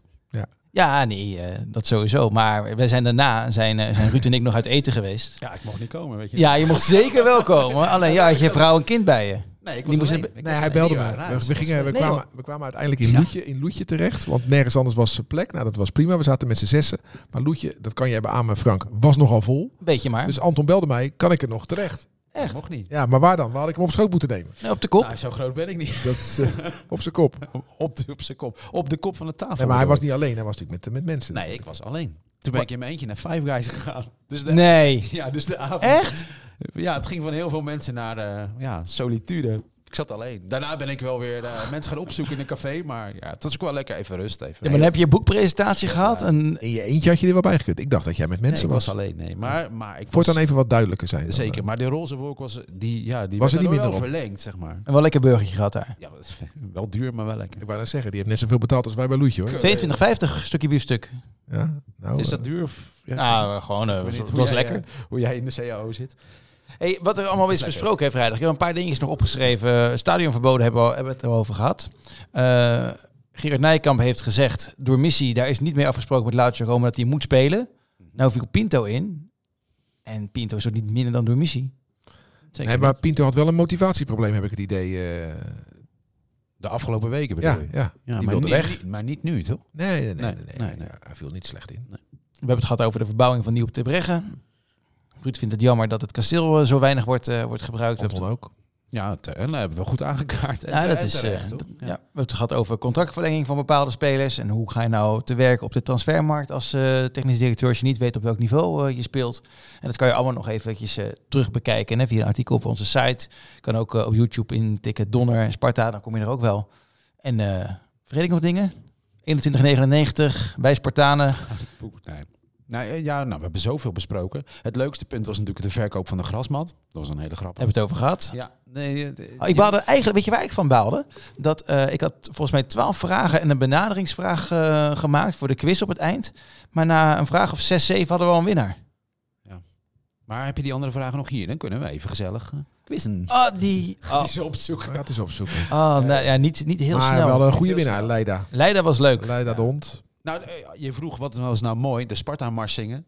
[SPEAKER 2] Ja, nee, eh, dat sowieso. Maar wij zijn daarna, zijn, eh, zijn Ruud en ik nog uit eten geweest.
[SPEAKER 3] Ja, ik mocht niet komen, weet je.
[SPEAKER 2] Ja, je mocht zeker wel komen. Alleen ja, had je vrouw en kind bij je.
[SPEAKER 3] Nee, ik
[SPEAKER 2] Die moest
[SPEAKER 3] alleen.
[SPEAKER 2] hebben-
[SPEAKER 3] Ik
[SPEAKER 4] Nee,
[SPEAKER 3] was
[SPEAKER 4] hij
[SPEAKER 3] alleen.
[SPEAKER 4] belde
[SPEAKER 3] Ja,
[SPEAKER 4] me.
[SPEAKER 3] raar.
[SPEAKER 4] We, we gingen, we,
[SPEAKER 2] Nee,
[SPEAKER 4] kwamen,
[SPEAKER 2] hoor.
[SPEAKER 4] we kwamen uiteindelijk in Loetje, in Loetje terecht. Want nergens anders was zijn plek. Nou, dat was prima. We zaten met z'n zessen. Maar Loetje, dat kan je beamen, Frank, was nogal vol.
[SPEAKER 2] Beetje maar.
[SPEAKER 4] Dus Anton belde mij, kan ik er nog terecht?
[SPEAKER 2] Echt.
[SPEAKER 3] Mocht niet.
[SPEAKER 4] Ja, maar waar dan? Waar had ik hem op schoot moeten nemen?
[SPEAKER 2] Nee, op de kop.
[SPEAKER 3] Nou, zo groot ben ik niet.
[SPEAKER 4] Dat is eh, op zijn kop.
[SPEAKER 3] Op, de, op zijn kop. Op de kop van de tafel.
[SPEAKER 4] Nee, maar hij was niet alleen, hij was natuurlijk met, met mensen.
[SPEAKER 3] Nee, ik was alleen. Toen ben ik in mijn eentje naar Five Guys gegaan. Dus de,
[SPEAKER 2] Nee.
[SPEAKER 3] ja, dus de avond.
[SPEAKER 2] Echt?
[SPEAKER 3] Ja, het ging van heel veel mensen naar eh, ja, solitude. Ik zat alleen. Daarna ben ik wel weer eh, mensen gaan opzoeken in een café. Maar ja, het was ook wel lekker even rust. Even.
[SPEAKER 2] Ja, maar dan heb je je boekpresentatie gehad. En,
[SPEAKER 4] In je eentje had je er wel bij gekund. Ik dacht dat jij met
[SPEAKER 3] Nee,
[SPEAKER 4] mensen
[SPEAKER 3] ik was
[SPEAKER 4] was.
[SPEAKER 3] alleen. Nee, maar, maar ik was,
[SPEAKER 4] Voortaan even wat duidelijker zijn. dan,
[SPEAKER 3] zeker. Maar de roze wolk was die, ja, die
[SPEAKER 4] Was
[SPEAKER 3] werd
[SPEAKER 4] er niet
[SPEAKER 3] dan wel
[SPEAKER 4] minder
[SPEAKER 3] verlengd, zeg maar.
[SPEAKER 2] en wel lekker burgertje gehad daar.
[SPEAKER 3] Ja, dat is wel duur, maar wel lekker.
[SPEAKER 4] eh. Ik wou net zeggen, die heeft net zoveel betaald als wij bij Loetje hoor.
[SPEAKER 3] Kut.
[SPEAKER 2] 22,50 stukje biefstuk.
[SPEAKER 4] Ja, nou,
[SPEAKER 3] Is
[SPEAKER 4] eh,
[SPEAKER 3] dat duur? Of, ja,
[SPEAKER 2] Nou, eh, gewoon, eh,
[SPEAKER 3] ik weet
[SPEAKER 2] was-
[SPEAKER 3] niet
[SPEAKER 2] het
[SPEAKER 3] hoe
[SPEAKER 2] was
[SPEAKER 3] jij,
[SPEAKER 2] lekker.
[SPEAKER 3] eh, hoe jij in de CAO zit.
[SPEAKER 2] Hey, wat er allemaal is
[SPEAKER 3] Lekker.
[SPEAKER 2] besproken hè, vrijdag. Ik heb een paar dingetjes nog opgeschreven. Stadionverboden hebben we al- hebben we het erover gehad. Eh Gerard Nijkamp heeft gezegd, door missie, daar is niet meer afgesproken met Lautje Rome dat hij moet spelen. Nou viel Pinto in. En Pinto is ook niet minder dan door missie.
[SPEAKER 3] Zeker
[SPEAKER 4] nee, maar Pinto had wel een motivatieprobleem, heb ik het idee. eh.
[SPEAKER 3] De afgelopen weken bedoel
[SPEAKER 4] ja,
[SPEAKER 3] je?
[SPEAKER 4] ja.
[SPEAKER 3] Ja,
[SPEAKER 4] die
[SPEAKER 3] maar,
[SPEAKER 4] wilde
[SPEAKER 3] niet,
[SPEAKER 4] weg.
[SPEAKER 3] niet- maar niet nu, toch?
[SPEAKER 4] Nee, nee, nee.
[SPEAKER 3] Nee,
[SPEAKER 4] nee,
[SPEAKER 3] nee, nee.
[SPEAKER 4] Ja, hij viel niet slecht in.
[SPEAKER 2] We hebben het gehad over de verbouwing van Nieuw te Breggen. Ruud vindt het jammer dat het kasteel eh, zo weinig wordt, eh, wordt gebruikt. We hebben
[SPEAKER 4] Anton ook.
[SPEAKER 3] Ja, te- en dat hebben we goed aangekaart. En
[SPEAKER 2] Ja,
[SPEAKER 3] te-
[SPEAKER 2] dat
[SPEAKER 3] en
[SPEAKER 2] is,
[SPEAKER 3] terecht,
[SPEAKER 2] eh,
[SPEAKER 3] toch?
[SPEAKER 2] Ja. we hebben het gehad over contractverlenging van bepaalde spelers. En hoe ga je nou te werk op de transfermarkt als eh, technisch directeur als je niet weet op welk niveau eh, je speelt. En dat kan je allemaal nog eventjes eh, terug bekijken hè, via een artikel op onze site. Kan ook eh, op YouTube intikken Donner en Sparta, dan kom je er ook wel. En eh vergeet ik nog dingen? 21,99 bij Spartanen.
[SPEAKER 3] Poeh, Nee. Nou, eh, ja, nou, we hebben zoveel besproken. Het leukste punt was natuurlijk de verkoop van de grasmat. Dat was een hele grap.
[SPEAKER 2] Hebben we het over gehad.
[SPEAKER 3] Ja, nee, eh, eh,
[SPEAKER 2] Oh, ik baalde eigenlijk, weet je waar ik van baalde? Dat eh, ik had volgens mij twaalf vragen en een benaderingsvraag eh, gemaakt voor de quiz op het eind. Maar na een vraag of zes, zeven hadden we al een winnaar.
[SPEAKER 3] Maar heb je die andere vragen nog hier? Dan kunnen we even gezellig eh, quizzen.
[SPEAKER 2] Oh, die. Oh,
[SPEAKER 3] Die ze opzoeken.
[SPEAKER 4] Gaat eens opzoeken.
[SPEAKER 2] oh, nou ja, niet, niet heel
[SPEAKER 4] maar
[SPEAKER 2] snel.
[SPEAKER 4] we hadden een goede
[SPEAKER 3] Heel
[SPEAKER 4] winnaar,
[SPEAKER 3] snel.
[SPEAKER 4] Leida.
[SPEAKER 2] Leida was leuk.
[SPEAKER 4] Leida de hond.
[SPEAKER 3] Nou, eh, je vroeg wat was nou mooi, de Sparta-mars zingen.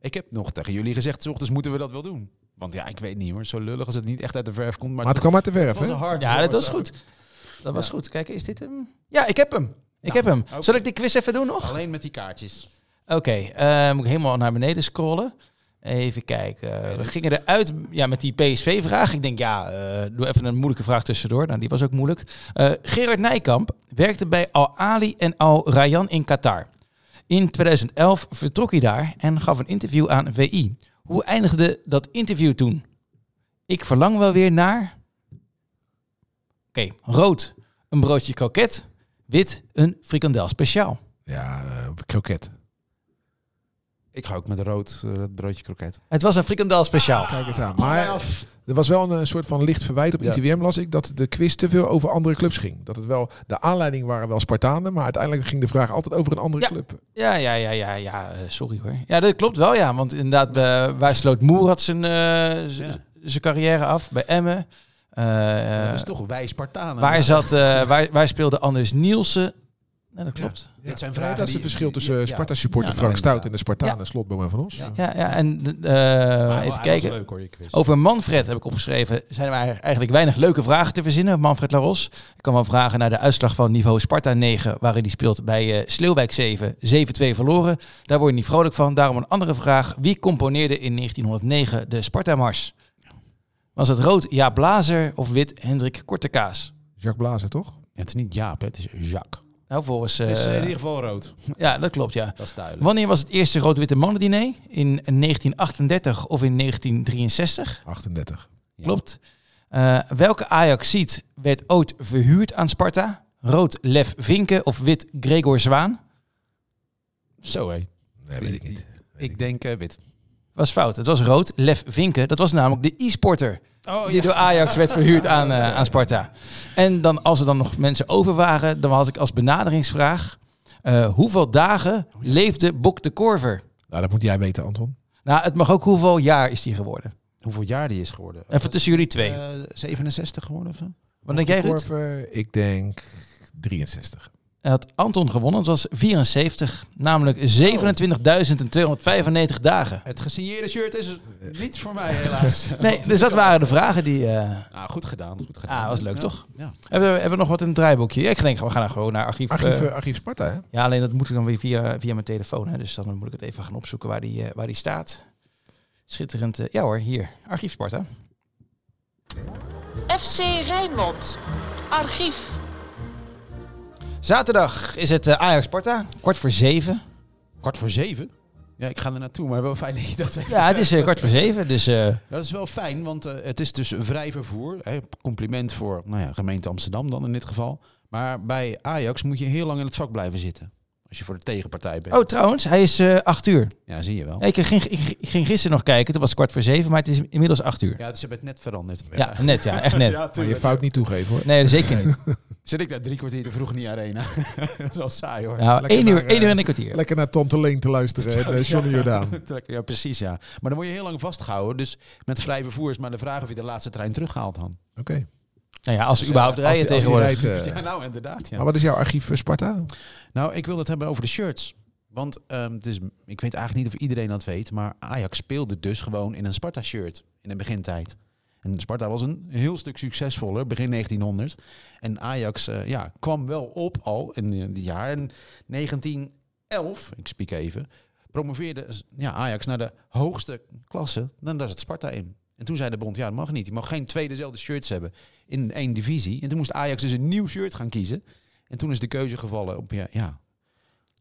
[SPEAKER 3] Ik heb nog tegen jullie gezegd, 's ochtends moeten we dat wel doen. Want ja, ik weet niet hoor, zo lullig als het niet echt uit de verf komt. Maar,
[SPEAKER 4] Maar het kwam uit de verf,
[SPEAKER 3] was
[SPEAKER 4] hè?
[SPEAKER 3] een hard.
[SPEAKER 2] Ja, dat
[SPEAKER 3] hoor,
[SPEAKER 2] was
[SPEAKER 3] zo.
[SPEAKER 2] goed. Dat was
[SPEAKER 3] Ja.
[SPEAKER 2] goed. Kijk, is dit hem? Ja, ik heb hem. Ik heb hem.
[SPEAKER 3] oké.
[SPEAKER 2] Zal ik die quiz even doen nog?
[SPEAKER 3] Alleen met die kaartjes.
[SPEAKER 2] Oké, eh, moet ik helemaal naar beneden scrollen. Even kijken. we gingen eruit ja, met die PSV-vraag. Ik denk, ja, eh, doe even een moeilijke vraag tussendoor. Nou, die was ook moeilijk. Eh, Gerard Nijkamp werkte bij Al Ali en Al Rayyan in Qatar. In 2011 vertrok hij daar en gaf een interview aan VI. Hoe eindigde dat interview toen? Ik verlang wel weer naar... Oké, rood, een broodje kroket. Wit, een frikandel speciaal.
[SPEAKER 4] Ja, eh, kroket.
[SPEAKER 3] Ik ga ook met rood eh, het broodje kroket.
[SPEAKER 2] Het was een frikandel speciaal.
[SPEAKER 4] Kijk eens
[SPEAKER 3] Ah,
[SPEAKER 4] aan. Maar er was wel een eh, soort van licht verwijt op
[SPEAKER 3] Ja.
[SPEAKER 4] ITWM, las ik, dat de quiz te veel over andere clubs ging. Dat het wel, de aanleiding waren wel Spartanen, maar uiteindelijk ging de vraag altijd over een andere
[SPEAKER 2] Ja.
[SPEAKER 4] club.
[SPEAKER 2] Ja, ja, ja, ja, ja, eh, sorry hoor. Ja, dat klopt wel, ja. Want inderdaad, eh, waar sloot Moerad zijn, eh, z-
[SPEAKER 3] Ja.
[SPEAKER 2] zijn carrière af? Bij Emmen. Eh,
[SPEAKER 3] dat is toch wij Spartanen.
[SPEAKER 2] waar, zat, eh, waar, waar speelde Anders Nielsen? Nou, Nee, dat klopt.
[SPEAKER 4] Ja.
[SPEAKER 3] Dit zijn
[SPEAKER 4] Ja,
[SPEAKER 3] vragen
[SPEAKER 4] dat is het
[SPEAKER 3] die-
[SPEAKER 4] verschil tussen
[SPEAKER 3] die-
[SPEAKER 4] eh,
[SPEAKER 3] ja.
[SPEAKER 4] Sparta-supporter
[SPEAKER 3] Ja, nou,
[SPEAKER 4] Frank Stout en de
[SPEAKER 3] inderdaad.
[SPEAKER 4] Spartanen Slotboom van ons.
[SPEAKER 3] Ja.
[SPEAKER 2] Ja, ja en eh,
[SPEAKER 3] Maar
[SPEAKER 2] even
[SPEAKER 3] Oh, hij was
[SPEAKER 2] kijken.
[SPEAKER 3] leuk hoor, je quiz.
[SPEAKER 2] Over Manfred heb ik opgeschreven. Zijn er eigenlijk weinig leuke vragen te verzinnen? Manfred Laros. Ik kan wel vragen naar de uitslag van niveau Sparta 9, waarin hij speelt bij eh Sleeuwwijk 7. 7-2 verloren. Daar word je niet vrolijk van. Daarom een andere vraag. Wie componeerde in 1909 de Sparta Mars? Was het rood Ja Blazer of wit Hendrik Kortekaas?
[SPEAKER 4] Jacques Blazer, toch?
[SPEAKER 3] Ja, het is niet Jaap, hè, het is Jacques.
[SPEAKER 2] Nou, volgens...
[SPEAKER 3] het is eh,
[SPEAKER 2] eh,
[SPEAKER 3] in ieder geval rood.
[SPEAKER 2] ja, dat klopt, ja.
[SPEAKER 3] Dat is duidelijk.
[SPEAKER 2] Wanneer was het eerste rood-witte mannendiner? In 1938 of in 1963?
[SPEAKER 4] 38.
[SPEAKER 3] Ja.
[SPEAKER 2] Klopt. Eh, welke Ajax-seat werd ooit verhuurd aan Sparta? Rood Lef Vinken of wit Gregor Zwaan?
[SPEAKER 3] Zo hé.
[SPEAKER 4] Nee, weet ik niet.
[SPEAKER 3] Ik denk eh, wit.
[SPEAKER 2] Was fout. Het was rood Lef Vinken. Dat was namelijk de e-sporter die door Ajax werd verhuurd aan, eh, aan Sparta. En dan, als er dan nog mensen over waren, dan had ik als benaderingsvraag... eh, hoeveel dagen leefde Bok de Korver?
[SPEAKER 4] Nou, dat moet jij weten, Anton.
[SPEAKER 2] Nou, het mag ook hoeveel jaar is die geworden.
[SPEAKER 3] Hoeveel jaar die is geworden?
[SPEAKER 2] Even tussen jullie twee.
[SPEAKER 3] Eh, 67 geworden of zo?
[SPEAKER 2] Wat denk jij, Ruud?
[SPEAKER 4] Korver, ik denk 63.
[SPEAKER 2] Hij had Anton gewonnen. Het was 74. Namelijk 27.295 dagen.
[SPEAKER 3] Het gesigneerde shirt is
[SPEAKER 4] Eh.
[SPEAKER 3] niet voor mij helaas.
[SPEAKER 2] Nee, dus dat waren de vragen die... eh,
[SPEAKER 3] Nou, goed gedaan. Goed gedaan.
[SPEAKER 2] ah, was leuk,
[SPEAKER 3] Ja.
[SPEAKER 2] toch?
[SPEAKER 3] Ja.
[SPEAKER 2] Hebben, we- hebben we nog wat in het draaiboekje? Ik denk, we gaan nou gewoon naar archief.
[SPEAKER 4] Archief,
[SPEAKER 2] eh,
[SPEAKER 4] eh, archief Sparta, hè?
[SPEAKER 2] ja, alleen dat moet ik dan weer via, via mijn telefoon. Hè, dus dan moet ik het even gaan opzoeken waar die, eh, waar die staat. Schitterend. eh, ja hoor, hier. Archief Sparta.
[SPEAKER 5] FC Rijnmond. Archief.
[SPEAKER 2] Zaterdag is het eh, Ajax Sparta. Kwart voor zeven.
[SPEAKER 3] Kwart voor zeven? Ja, ik ga er naartoe, maar wel fijn dat je dat weet.
[SPEAKER 2] Ja, het is eh, kwart voor zeven. Dus eh,
[SPEAKER 3] Dat is wel fijn, want eh, het is dus vrij vervoer. Hè, compliment voor nou ja, gemeente Amsterdam dan in dit geval. Maar bij Ajax moet je heel lang in het vak blijven zitten. Als je voor de tegenpartij bent.
[SPEAKER 2] Oh, trouwens, hij is eh acht uur.
[SPEAKER 3] Ja, zie je wel.
[SPEAKER 2] Ja, ik, ging, ik ging gisteren nog kijken. Toen was het kwart voor zeven, maar het is inmiddels acht uur.
[SPEAKER 3] Ja, dus ze hebben het net veranderd.
[SPEAKER 2] Ja, net ja, echt net.
[SPEAKER 4] Maar je fout niet toegeven, hoor.
[SPEAKER 2] Nee, zeker niet.
[SPEAKER 3] Zit ik daar drie kwartier te vroeg in die arena? dat is wel saai hoor.
[SPEAKER 2] Nou,
[SPEAKER 4] Lekker
[SPEAKER 2] één uur,
[SPEAKER 4] naar, eh,
[SPEAKER 2] één uur en een kwartier.
[SPEAKER 4] Lekker naar Tante Leen te luisteren en eh, Johnny Jordaan.
[SPEAKER 3] Ja, precies ja. Maar dan word je heel lang vastgehouden. Dus met vrij vervoer is maar de vraag of je de laatste trein terughaalt dan.
[SPEAKER 4] Oké.
[SPEAKER 2] Nou ja, als ze überhaupt rijden
[SPEAKER 4] Als die- als die
[SPEAKER 2] tegenwoordig.
[SPEAKER 4] rijdt, eh,
[SPEAKER 3] Ja, nou inderdaad. Ja.
[SPEAKER 4] Maar wat is jouw archief eh, Sparta?
[SPEAKER 3] Nou, ik wil het hebben over de shirts. Want ehm, het is, ik weet eigenlijk niet of iedereen dat weet, maar Ajax speelde dus gewoon in een Sparta-shirt in de begintijd. En Sparta was een heel stuk succesvoller, begin 1900. En Ajax eh, ja, kwam wel op al in eh, die jaren 1911, ik spiek even, promoveerde ja, Ajax naar de hoogste klasse. Dan daar zat Sparta in. En toen zei de bond, ja dat mag niet. Je mag geen twee dezelfde shirts hebben in één divisie. En toen moest Ajax dus een nieuw shirt gaan kiezen. En toen is de keuze gevallen op ja, ja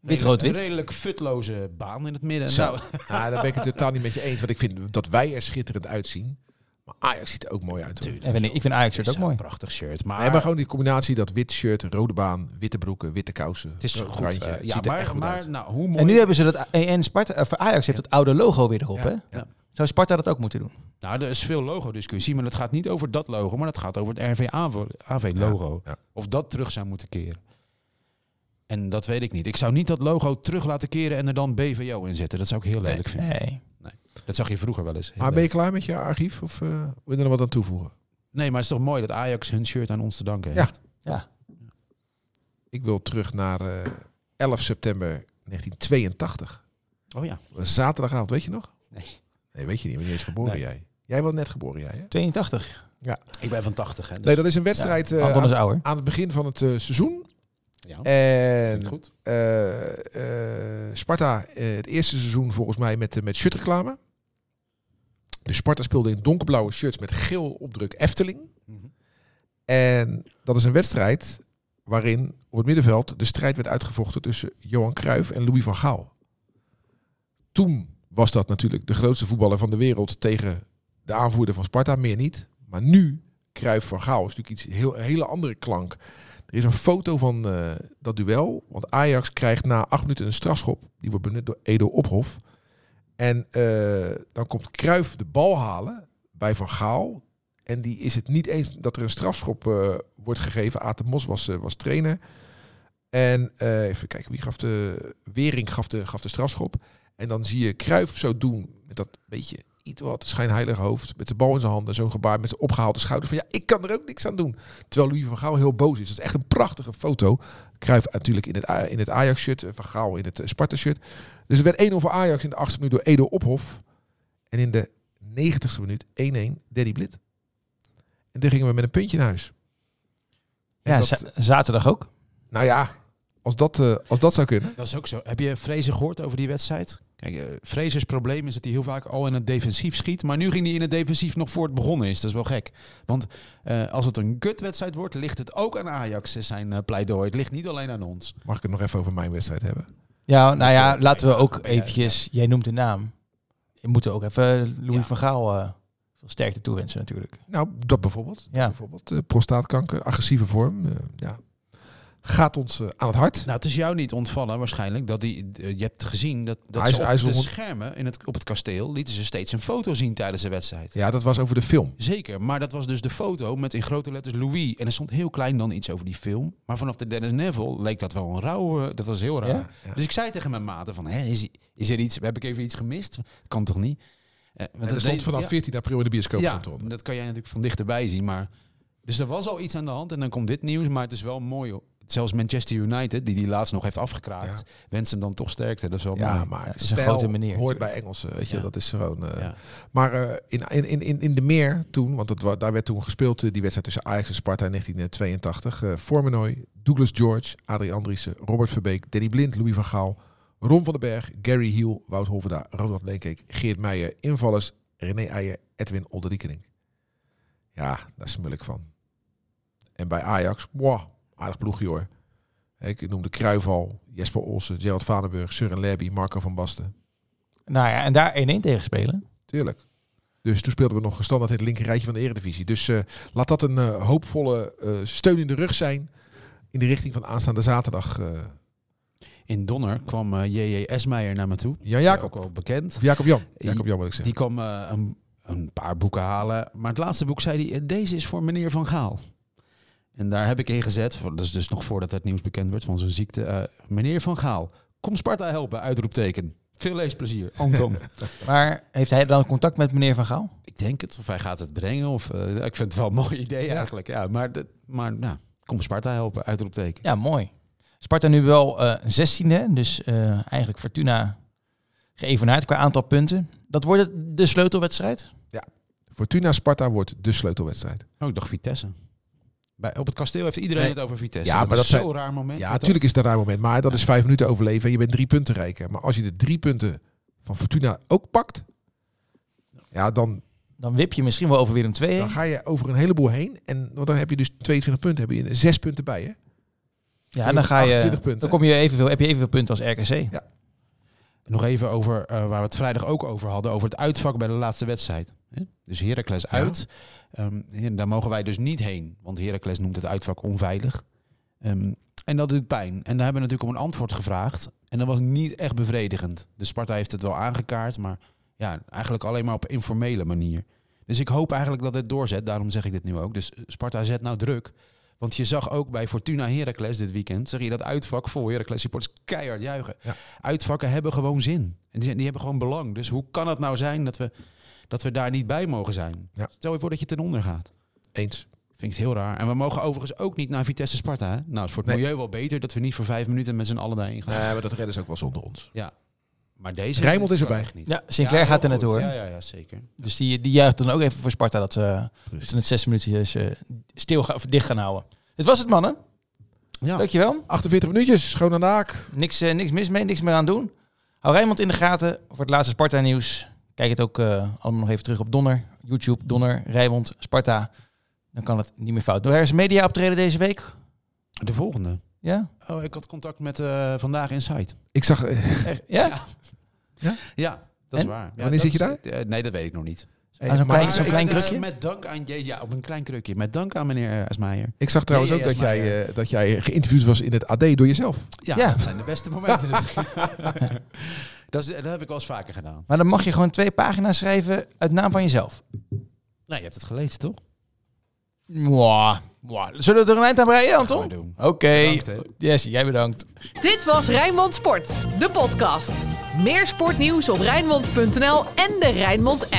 [SPEAKER 2] Wit, rood, wit.
[SPEAKER 3] Een redelijk futloze baan in het midden.
[SPEAKER 4] Zo.
[SPEAKER 3] Nou,
[SPEAKER 4] Ah, daar ben ik het totaal niet met je eens. Want ik vind dat wij er schitterend uitzien. Maar Ajax ziet er ook mooi uit. hoor.
[SPEAKER 2] Ik vind, ik vind Ajax shirt
[SPEAKER 3] is
[SPEAKER 2] ook
[SPEAKER 3] een
[SPEAKER 2] mooi.
[SPEAKER 3] prachtig shirt. Maar,
[SPEAKER 4] Nee, maar gewoon die combinatie dat wit shirt, rode baan, witte broeken, witte kousen.
[SPEAKER 3] het is
[SPEAKER 4] rood
[SPEAKER 3] goed.
[SPEAKER 4] Oh, randje.
[SPEAKER 3] eh,
[SPEAKER 4] Het
[SPEAKER 3] ja,
[SPEAKER 4] ziet er
[SPEAKER 3] maar,
[SPEAKER 4] echt goed
[SPEAKER 3] maar
[SPEAKER 4] uit.
[SPEAKER 3] nou, hoe mooi.
[SPEAKER 2] En nu hebben ze dat en Sparta, of Ajax heeft het oude logo weer erop,
[SPEAKER 4] Ja,
[SPEAKER 2] hè?
[SPEAKER 4] ja.
[SPEAKER 2] Zou Sparta dat ook moeten doen?
[SPEAKER 3] Nou, er is veel logo-discussie, maar het gaat niet over dat logo, maar het gaat over het RV-AV-logo.
[SPEAKER 4] Ja, ja.
[SPEAKER 3] Of dat terug zou moeten keren. En dat weet ik niet. Ik zou niet dat logo terug laten keren en er dan BVO in zetten. Dat zou ik heel lelijk vinden.
[SPEAKER 2] Nee.
[SPEAKER 3] Dat zag je vroeger wel eens. Heel
[SPEAKER 4] Maar ben je
[SPEAKER 3] leuk.
[SPEAKER 4] klaar met je archief? Of eh, wil je er nog wat aan toevoegen?
[SPEAKER 3] Nee, maar het is toch mooi dat Ajax hun shirt aan ons te danken
[SPEAKER 4] Ja.
[SPEAKER 3] heeft.
[SPEAKER 2] Ja.
[SPEAKER 4] Ik wil terug naar eh, 11 september 1982.
[SPEAKER 3] Oh ja.
[SPEAKER 4] Dat was Zaterdagavond, weet je nog?
[SPEAKER 3] Nee.
[SPEAKER 4] Nee, weet je niet. Wanneer is geboren
[SPEAKER 3] Nee.
[SPEAKER 4] jij? Jij was net geboren, jij hè?
[SPEAKER 2] 82.
[SPEAKER 3] Ik ben van 80. Hè, dus-
[SPEAKER 4] Nee, dat is een wedstrijd eh,
[SPEAKER 2] Anton
[SPEAKER 4] aan,
[SPEAKER 2] is ouder.
[SPEAKER 4] aan het begin van het eh, seizoen.
[SPEAKER 3] ja.
[SPEAKER 4] En
[SPEAKER 3] Goed.
[SPEAKER 4] eh, eh, Sparta, eh, het eerste seizoen volgens mij met, eh, met shirtreclame. Dus Sparta speelde in donkerblauwe shirts met geel opdruk Efteling.
[SPEAKER 3] Mhm.
[SPEAKER 4] En dat is een wedstrijd waarin op het middenveld de strijd werd uitgevochten tussen Johan Cruijff en Louis van Gaal. Toen was dat natuurlijk de grootste voetballer van de wereld tegen de aanvoerder van Sparta, meer niet. Maar nu, Cruijff van Gaal, is natuurlijk iets heel, een hele andere klank. Er is een foto van eh, dat duel, want Ajax krijgt na acht minuten een strafschop. Die wordt benut door Edo Ophof. En eh, dan komt Cruijff de bal halen bij Van Gaal. En die is het niet eens dat er een strafschop eh, wordt gegeven. Aad de Mos was, eh, was trainer. En eh, even kijken, wie gaf de... Wering gaf de, gaf de strafschop. En dan zie je Kruif zo doen met dat beetje iets wat schijnheilig hoofd met de bal in zijn handen, zo'n gebaar met zijn opgehaalde schouder van ja, ik kan er ook niks aan doen. Terwijl Louis van Gaal heel boos is. Dat is echt een prachtige foto. Cruijff natuurlijk in het, A- in het Ajax-shirt, eh, van Gaal in het eh, Sparta-shirt. Dus het werd 1-0 voor Ajax in de 8e minuut door Edo Ophof. En in de 90ste minuut 1-1 Daddy Blit. En toen gingen we met een puntje naar huis. En
[SPEAKER 2] Ja,
[SPEAKER 4] dat-
[SPEAKER 2] za- zaterdag ook.
[SPEAKER 4] nou ja, als dat, eh, als dat zou kunnen.
[SPEAKER 3] Dat is ook zo. Heb je Vrezen gehoord over die wedstrijd? Kijk, eh, Frezes probleem is dat hij heel vaak al in het defensief schiet. Maar nu ging hij in het defensief nog voor het begonnen is. Dat is wel gek. Want eh, als het een gutwedstrijd wordt, ligt het ook aan Ajax is zijn eh, pleidooi. Het ligt niet alleen aan ons.
[SPEAKER 4] Mag ik het nog even over mijn wedstrijd hebben?
[SPEAKER 2] Ja, nou ja, laten we ook eventjes... Jij noemt de naam. Je moet ook even Louis
[SPEAKER 3] Ja.
[SPEAKER 2] van Gaal eh, veel sterkte toewensen natuurlijk.
[SPEAKER 4] Nou, dat bijvoorbeeld. Dat
[SPEAKER 2] Ja.
[SPEAKER 4] bijvoorbeeld. Eh, prostaatkanker, agressieve vorm. eh, ja. Gaat ons eh, aan het hart.
[SPEAKER 3] Nou, het is jou niet ontvallen waarschijnlijk. Dat die, eh, je hebt gezien dat, dat
[SPEAKER 4] Hij is-
[SPEAKER 3] ze op
[SPEAKER 4] hij is
[SPEAKER 3] de
[SPEAKER 4] honderd-
[SPEAKER 3] schermen in het, op het kasteel lieten ze steeds een foto zien tijdens de wedstrijd.
[SPEAKER 4] Ja, dat was over de film.
[SPEAKER 3] Zeker, maar dat was dus de foto met in grote letters Louis. En er stond heel klein dan iets over die film. Maar vanaf de Dennis Neville leek dat wel een rauwe. Dat was heel raar.
[SPEAKER 2] Ja?
[SPEAKER 4] Ja.
[SPEAKER 3] Dus ik zei tegen mijn maten van, hè, is, is er iets, heb ik even iets gemist? Kan toch niet? Eh, want
[SPEAKER 4] En
[SPEAKER 3] dat
[SPEAKER 4] dat stond
[SPEAKER 3] deed-
[SPEAKER 4] vanaf
[SPEAKER 3] ja,
[SPEAKER 4] 14 april in de bioscoop.
[SPEAKER 3] ja,
[SPEAKER 4] stond eronder.
[SPEAKER 3] dat kan jij natuurlijk van dichterbij zien. Maar, dus er was al iets aan de hand en dan komt dit nieuws. Maar het is wel mooi. hoor. Zelfs Manchester United, die die laatst nog heeft afgekraakt, wenst hem dan toch sterkte. Dat is wel
[SPEAKER 4] Ja,
[SPEAKER 3] mooi.
[SPEAKER 4] maar
[SPEAKER 2] is een
[SPEAKER 4] stijl
[SPEAKER 2] grote manier
[SPEAKER 4] hoort
[SPEAKER 2] natuurlijk.
[SPEAKER 4] bij Engelsen. Weet je,
[SPEAKER 3] Ja.
[SPEAKER 4] dat is gewoon. eh,
[SPEAKER 3] Ja.
[SPEAKER 4] Maar eh, in, in, in- in, in de meer toen, want dat, wa- daar werd toen gespeeld eh, die wedstrijd tussen Ajax en Sparta in 1982. eh Formenoy, Douglas George, Adrie Andriessen, Robert Verbeek, Danny Blind, Louis van Gaal, Ron van den Berg, Gary Hiel, Wout Holverda, Ronald Leenkeek, Geert Meijer, invallers, René Eijer, Edwin Olderiekening. Ja, daar smul ik van. En bij Ajax, wow, aardig ploegje hoor. Ik noemde Kruival, Jesper Olsen, Gerald Vanenburg, Søren Lerby, Marco van Basten.
[SPEAKER 2] Nou ja, en daar 1-1 tegen spelen.
[SPEAKER 4] Tuurlijk. Dus toen speelden we nog standaard het linker rijtje van de Eredivisie. Dus eh, laat dat een eh, hoopvolle eh, steun in de rug zijn. In de richting van aanstaande zaterdag. eh
[SPEAKER 3] In Donner kwam eh, J.J. Esmeijer naar me toe.
[SPEAKER 4] Jan Jacob.
[SPEAKER 3] Ook wel bekend.
[SPEAKER 4] Of Jacob Jan.
[SPEAKER 3] Die-
[SPEAKER 4] Jacob Jan moet ik zeggen.
[SPEAKER 3] Die kwam eh, een, een paar boeken halen. Maar het laatste boek zei hij, eh, deze is voor meneer Van Gaal. En daar heb ik in gezet, voor- dat is dus nog voordat het nieuws bekend werd van zijn ziekte. eh, meneer Van Gaal, kom Sparta helpen, uitroepteken. Veel leesplezier, Anton.
[SPEAKER 2] Maar heeft hij dan contact met meneer Van Gaal?
[SPEAKER 3] ik denk het, of hij gaat het brengen. Of, eh, ik vind het wel een mooi idee eigenlijk. Ja, maar de- maar nou, kom Sparta helpen, uitroepteken.
[SPEAKER 2] Ja, mooi. Sparta nu wel eh 16e, dus eh, eigenlijk Fortuna geëvenaard qua aantal punten. Dat wordt het de sleutelwedstrijd.
[SPEAKER 4] Fortuna Sparta wordt de sleutelwedstrijd.
[SPEAKER 3] Oh, ik dacht Vitesse. Bij, op het kasteel heeft iedereen
[SPEAKER 4] Nee.
[SPEAKER 3] het over Vitesse.
[SPEAKER 4] Ja, maar
[SPEAKER 3] is
[SPEAKER 4] dat
[SPEAKER 3] zo'n
[SPEAKER 4] zijn-
[SPEAKER 3] raar moment.
[SPEAKER 4] Ja,
[SPEAKER 3] Wat
[SPEAKER 4] natuurlijk is dat een raar moment. Maar dat is vijf minuten overleven. En je bent drie punten rijker. Maar als je de drie punten van Fortuna ook pakt. Ja, dan,
[SPEAKER 2] Dan wip je misschien wel over Willem II.
[SPEAKER 4] dan ga je over een heleboel heen. En want dan heb je dus 22 punten. Heb je zes punten bij hè?
[SPEAKER 2] Ja, dan ga je.
[SPEAKER 4] 28 punten.
[SPEAKER 2] Dan kom je evenveel, heb je evenveel punten als RKC.
[SPEAKER 3] Nog even over eh, waar we het vrijdag ook over hadden, over het uitvak bij de laatste wedstrijd. hè? Dus Heracles uit. Ehm, hier- daar mogen wij dus niet heen, want Heracles noemt het uitvak onveilig. Ehm, en dat doet pijn. En daar hebben we natuurlijk om een antwoord gevraagd. En dat was niet echt bevredigend. De Sparta heeft het wel aangekaart, maar ja, eigenlijk alleen maar op informele manier. Dus ik hoop eigenlijk dat dit doorzet, daarom zeg ik dit nu ook. Dus eh, Sparta zet nou druk. Want je zag ook bij Fortuna Heracles dit weekend, zeg je dat uitvak vol Heracles supporters keihard juichen uitvakken hebben gewoon zin. En die, die hebben gewoon belang. Dus hoe kan het nou zijn dat we, dat we daar niet bij mogen zijn?
[SPEAKER 4] Ja.
[SPEAKER 3] Stel je voor dat je ten onder gaat.
[SPEAKER 4] Eens.
[SPEAKER 3] Vind ik het heel raar. En we mogen overigens ook niet naar Vitesse Sparta. Hè? Nou, is voor het
[SPEAKER 4] Nee.
[SPEAKER 3] milieu wel beter dat we niet voor vijf minuten met z'n allen daarheen gaan.
[SPEAKER 4] Nee, maar dat redden ze ook wel zonder ons.
[SPEAKER 3] Maar deze.
[SPEAKER 4] Rijnmond is
[SPEAKER 3] kan
[SPEAKER 4] erbij.
[SPEAKER 3] echt niet.
[SPEAKER 2] Ja, Sinclair
[SPEAKER 3] heel
[SPEAKER 2] gaat er
[SPEAKER 3] goed.
[SPEAKER 2] naartoe. hoor.
[SPEAKER 3] Ja, ja, ja, zeker.
[SPEAKER 2] Dus die, die juicht dan ook even voor Sparta dat ze, dat ze het zes minuutjes eh, stil gaan, of dicht gaan houden. Dit was het, mannen.
[SPEAKER 3] Ja.
[SPEAKER 2] Dankjewel.
[SPEAKER 4] 48 minuutjes, schoon aan de haak.
[SPEAKER 2] Niks, eh, niks mis mee, niks meer aan doen. Hou Rijnmond in de gaten voor het laatste Sparta-nieuws. Kijk het ook eh, allemaal nog even terug op Donner. YouTube, Donner, Rijnmond, Sparta. Dan kan het niet meer fout. Door er is media optreden deze week.
[SPEAKER 3] De volgende.
[SPEAKER 2] Ja?
[SPEAKER 3] Oh, ik had contact met eh, Vandaag Insight.
[SPEAKER 4] Ik zag, eh,
[SPEAKER 2] Er- ja?
[SPEAKER 3] Ja, dat is
[SPEAKER 2] En?
[SPEAKER 3] waar. Ja,
[SPEAKER 4] Wanneer
[SPEAKER 3] dat
[SPEAKER 4] zit je
[SPEAKER 3] is- eh, nee, dat weet ik nog niet.
[SPEAKER 4] Hey,
[SPEAKER 2] Ah, zo'n
[SPEAKER 4] maar
[SPEAKER 2] klein-
[SPEAKER 4] ik-
[SPEAKER 2] zo'n
[SPEAKER 4] ik-
[SPEAKER 2] klein
[SPEAKER 3] eh,
[SPEAKER 2] krukje?
[SPEAKER 3] Met dank aan J- ja, op een klein krukje. Met dank aan meneer eh, Esmeijer.
[SPEAKER 4] ik zag trouwens
[SPEAKER 3] Nee,
[SPEAKER 4] ook
[SPEAKER 3] yes,
[SPEAKER 4] dat jij,
[SPEAKER 3] maar,
[SPEAKER 4] eh, dat jij geïnterviewd was in het AD door jezelf.
[SPEAKER 3] Ja,
[SPEAKER 2] Ja.
[SPEAKER 3] dat zijn de beste momenten. dat, is, dat heb ik wel eens vaker gedaan.
[SPEAKER 2] Maar dan mag je gewoon twee pagina's schrijven uit naam van jezelf.
[SPEAKER 3] Nou, je hebt het gelezen, toch?
[SPEAKER 2] Mwah, mwah. Zullen we er een eind aan breien,
[SPEAKER 3] Gaan we
[SPEAKER 2] Anton?
[SPEAKER 3] doen.
[SPEAKER 2] Oké.
[SPEAKER 3] Bedankt, hè.
[SPEAKER 2] Jesse, jij bedankt.
[SPEAKER 6] Dit was Rijnmond Sport, de podcast. Meer sportnieuws op Rijnmond.nl en de Rijnmond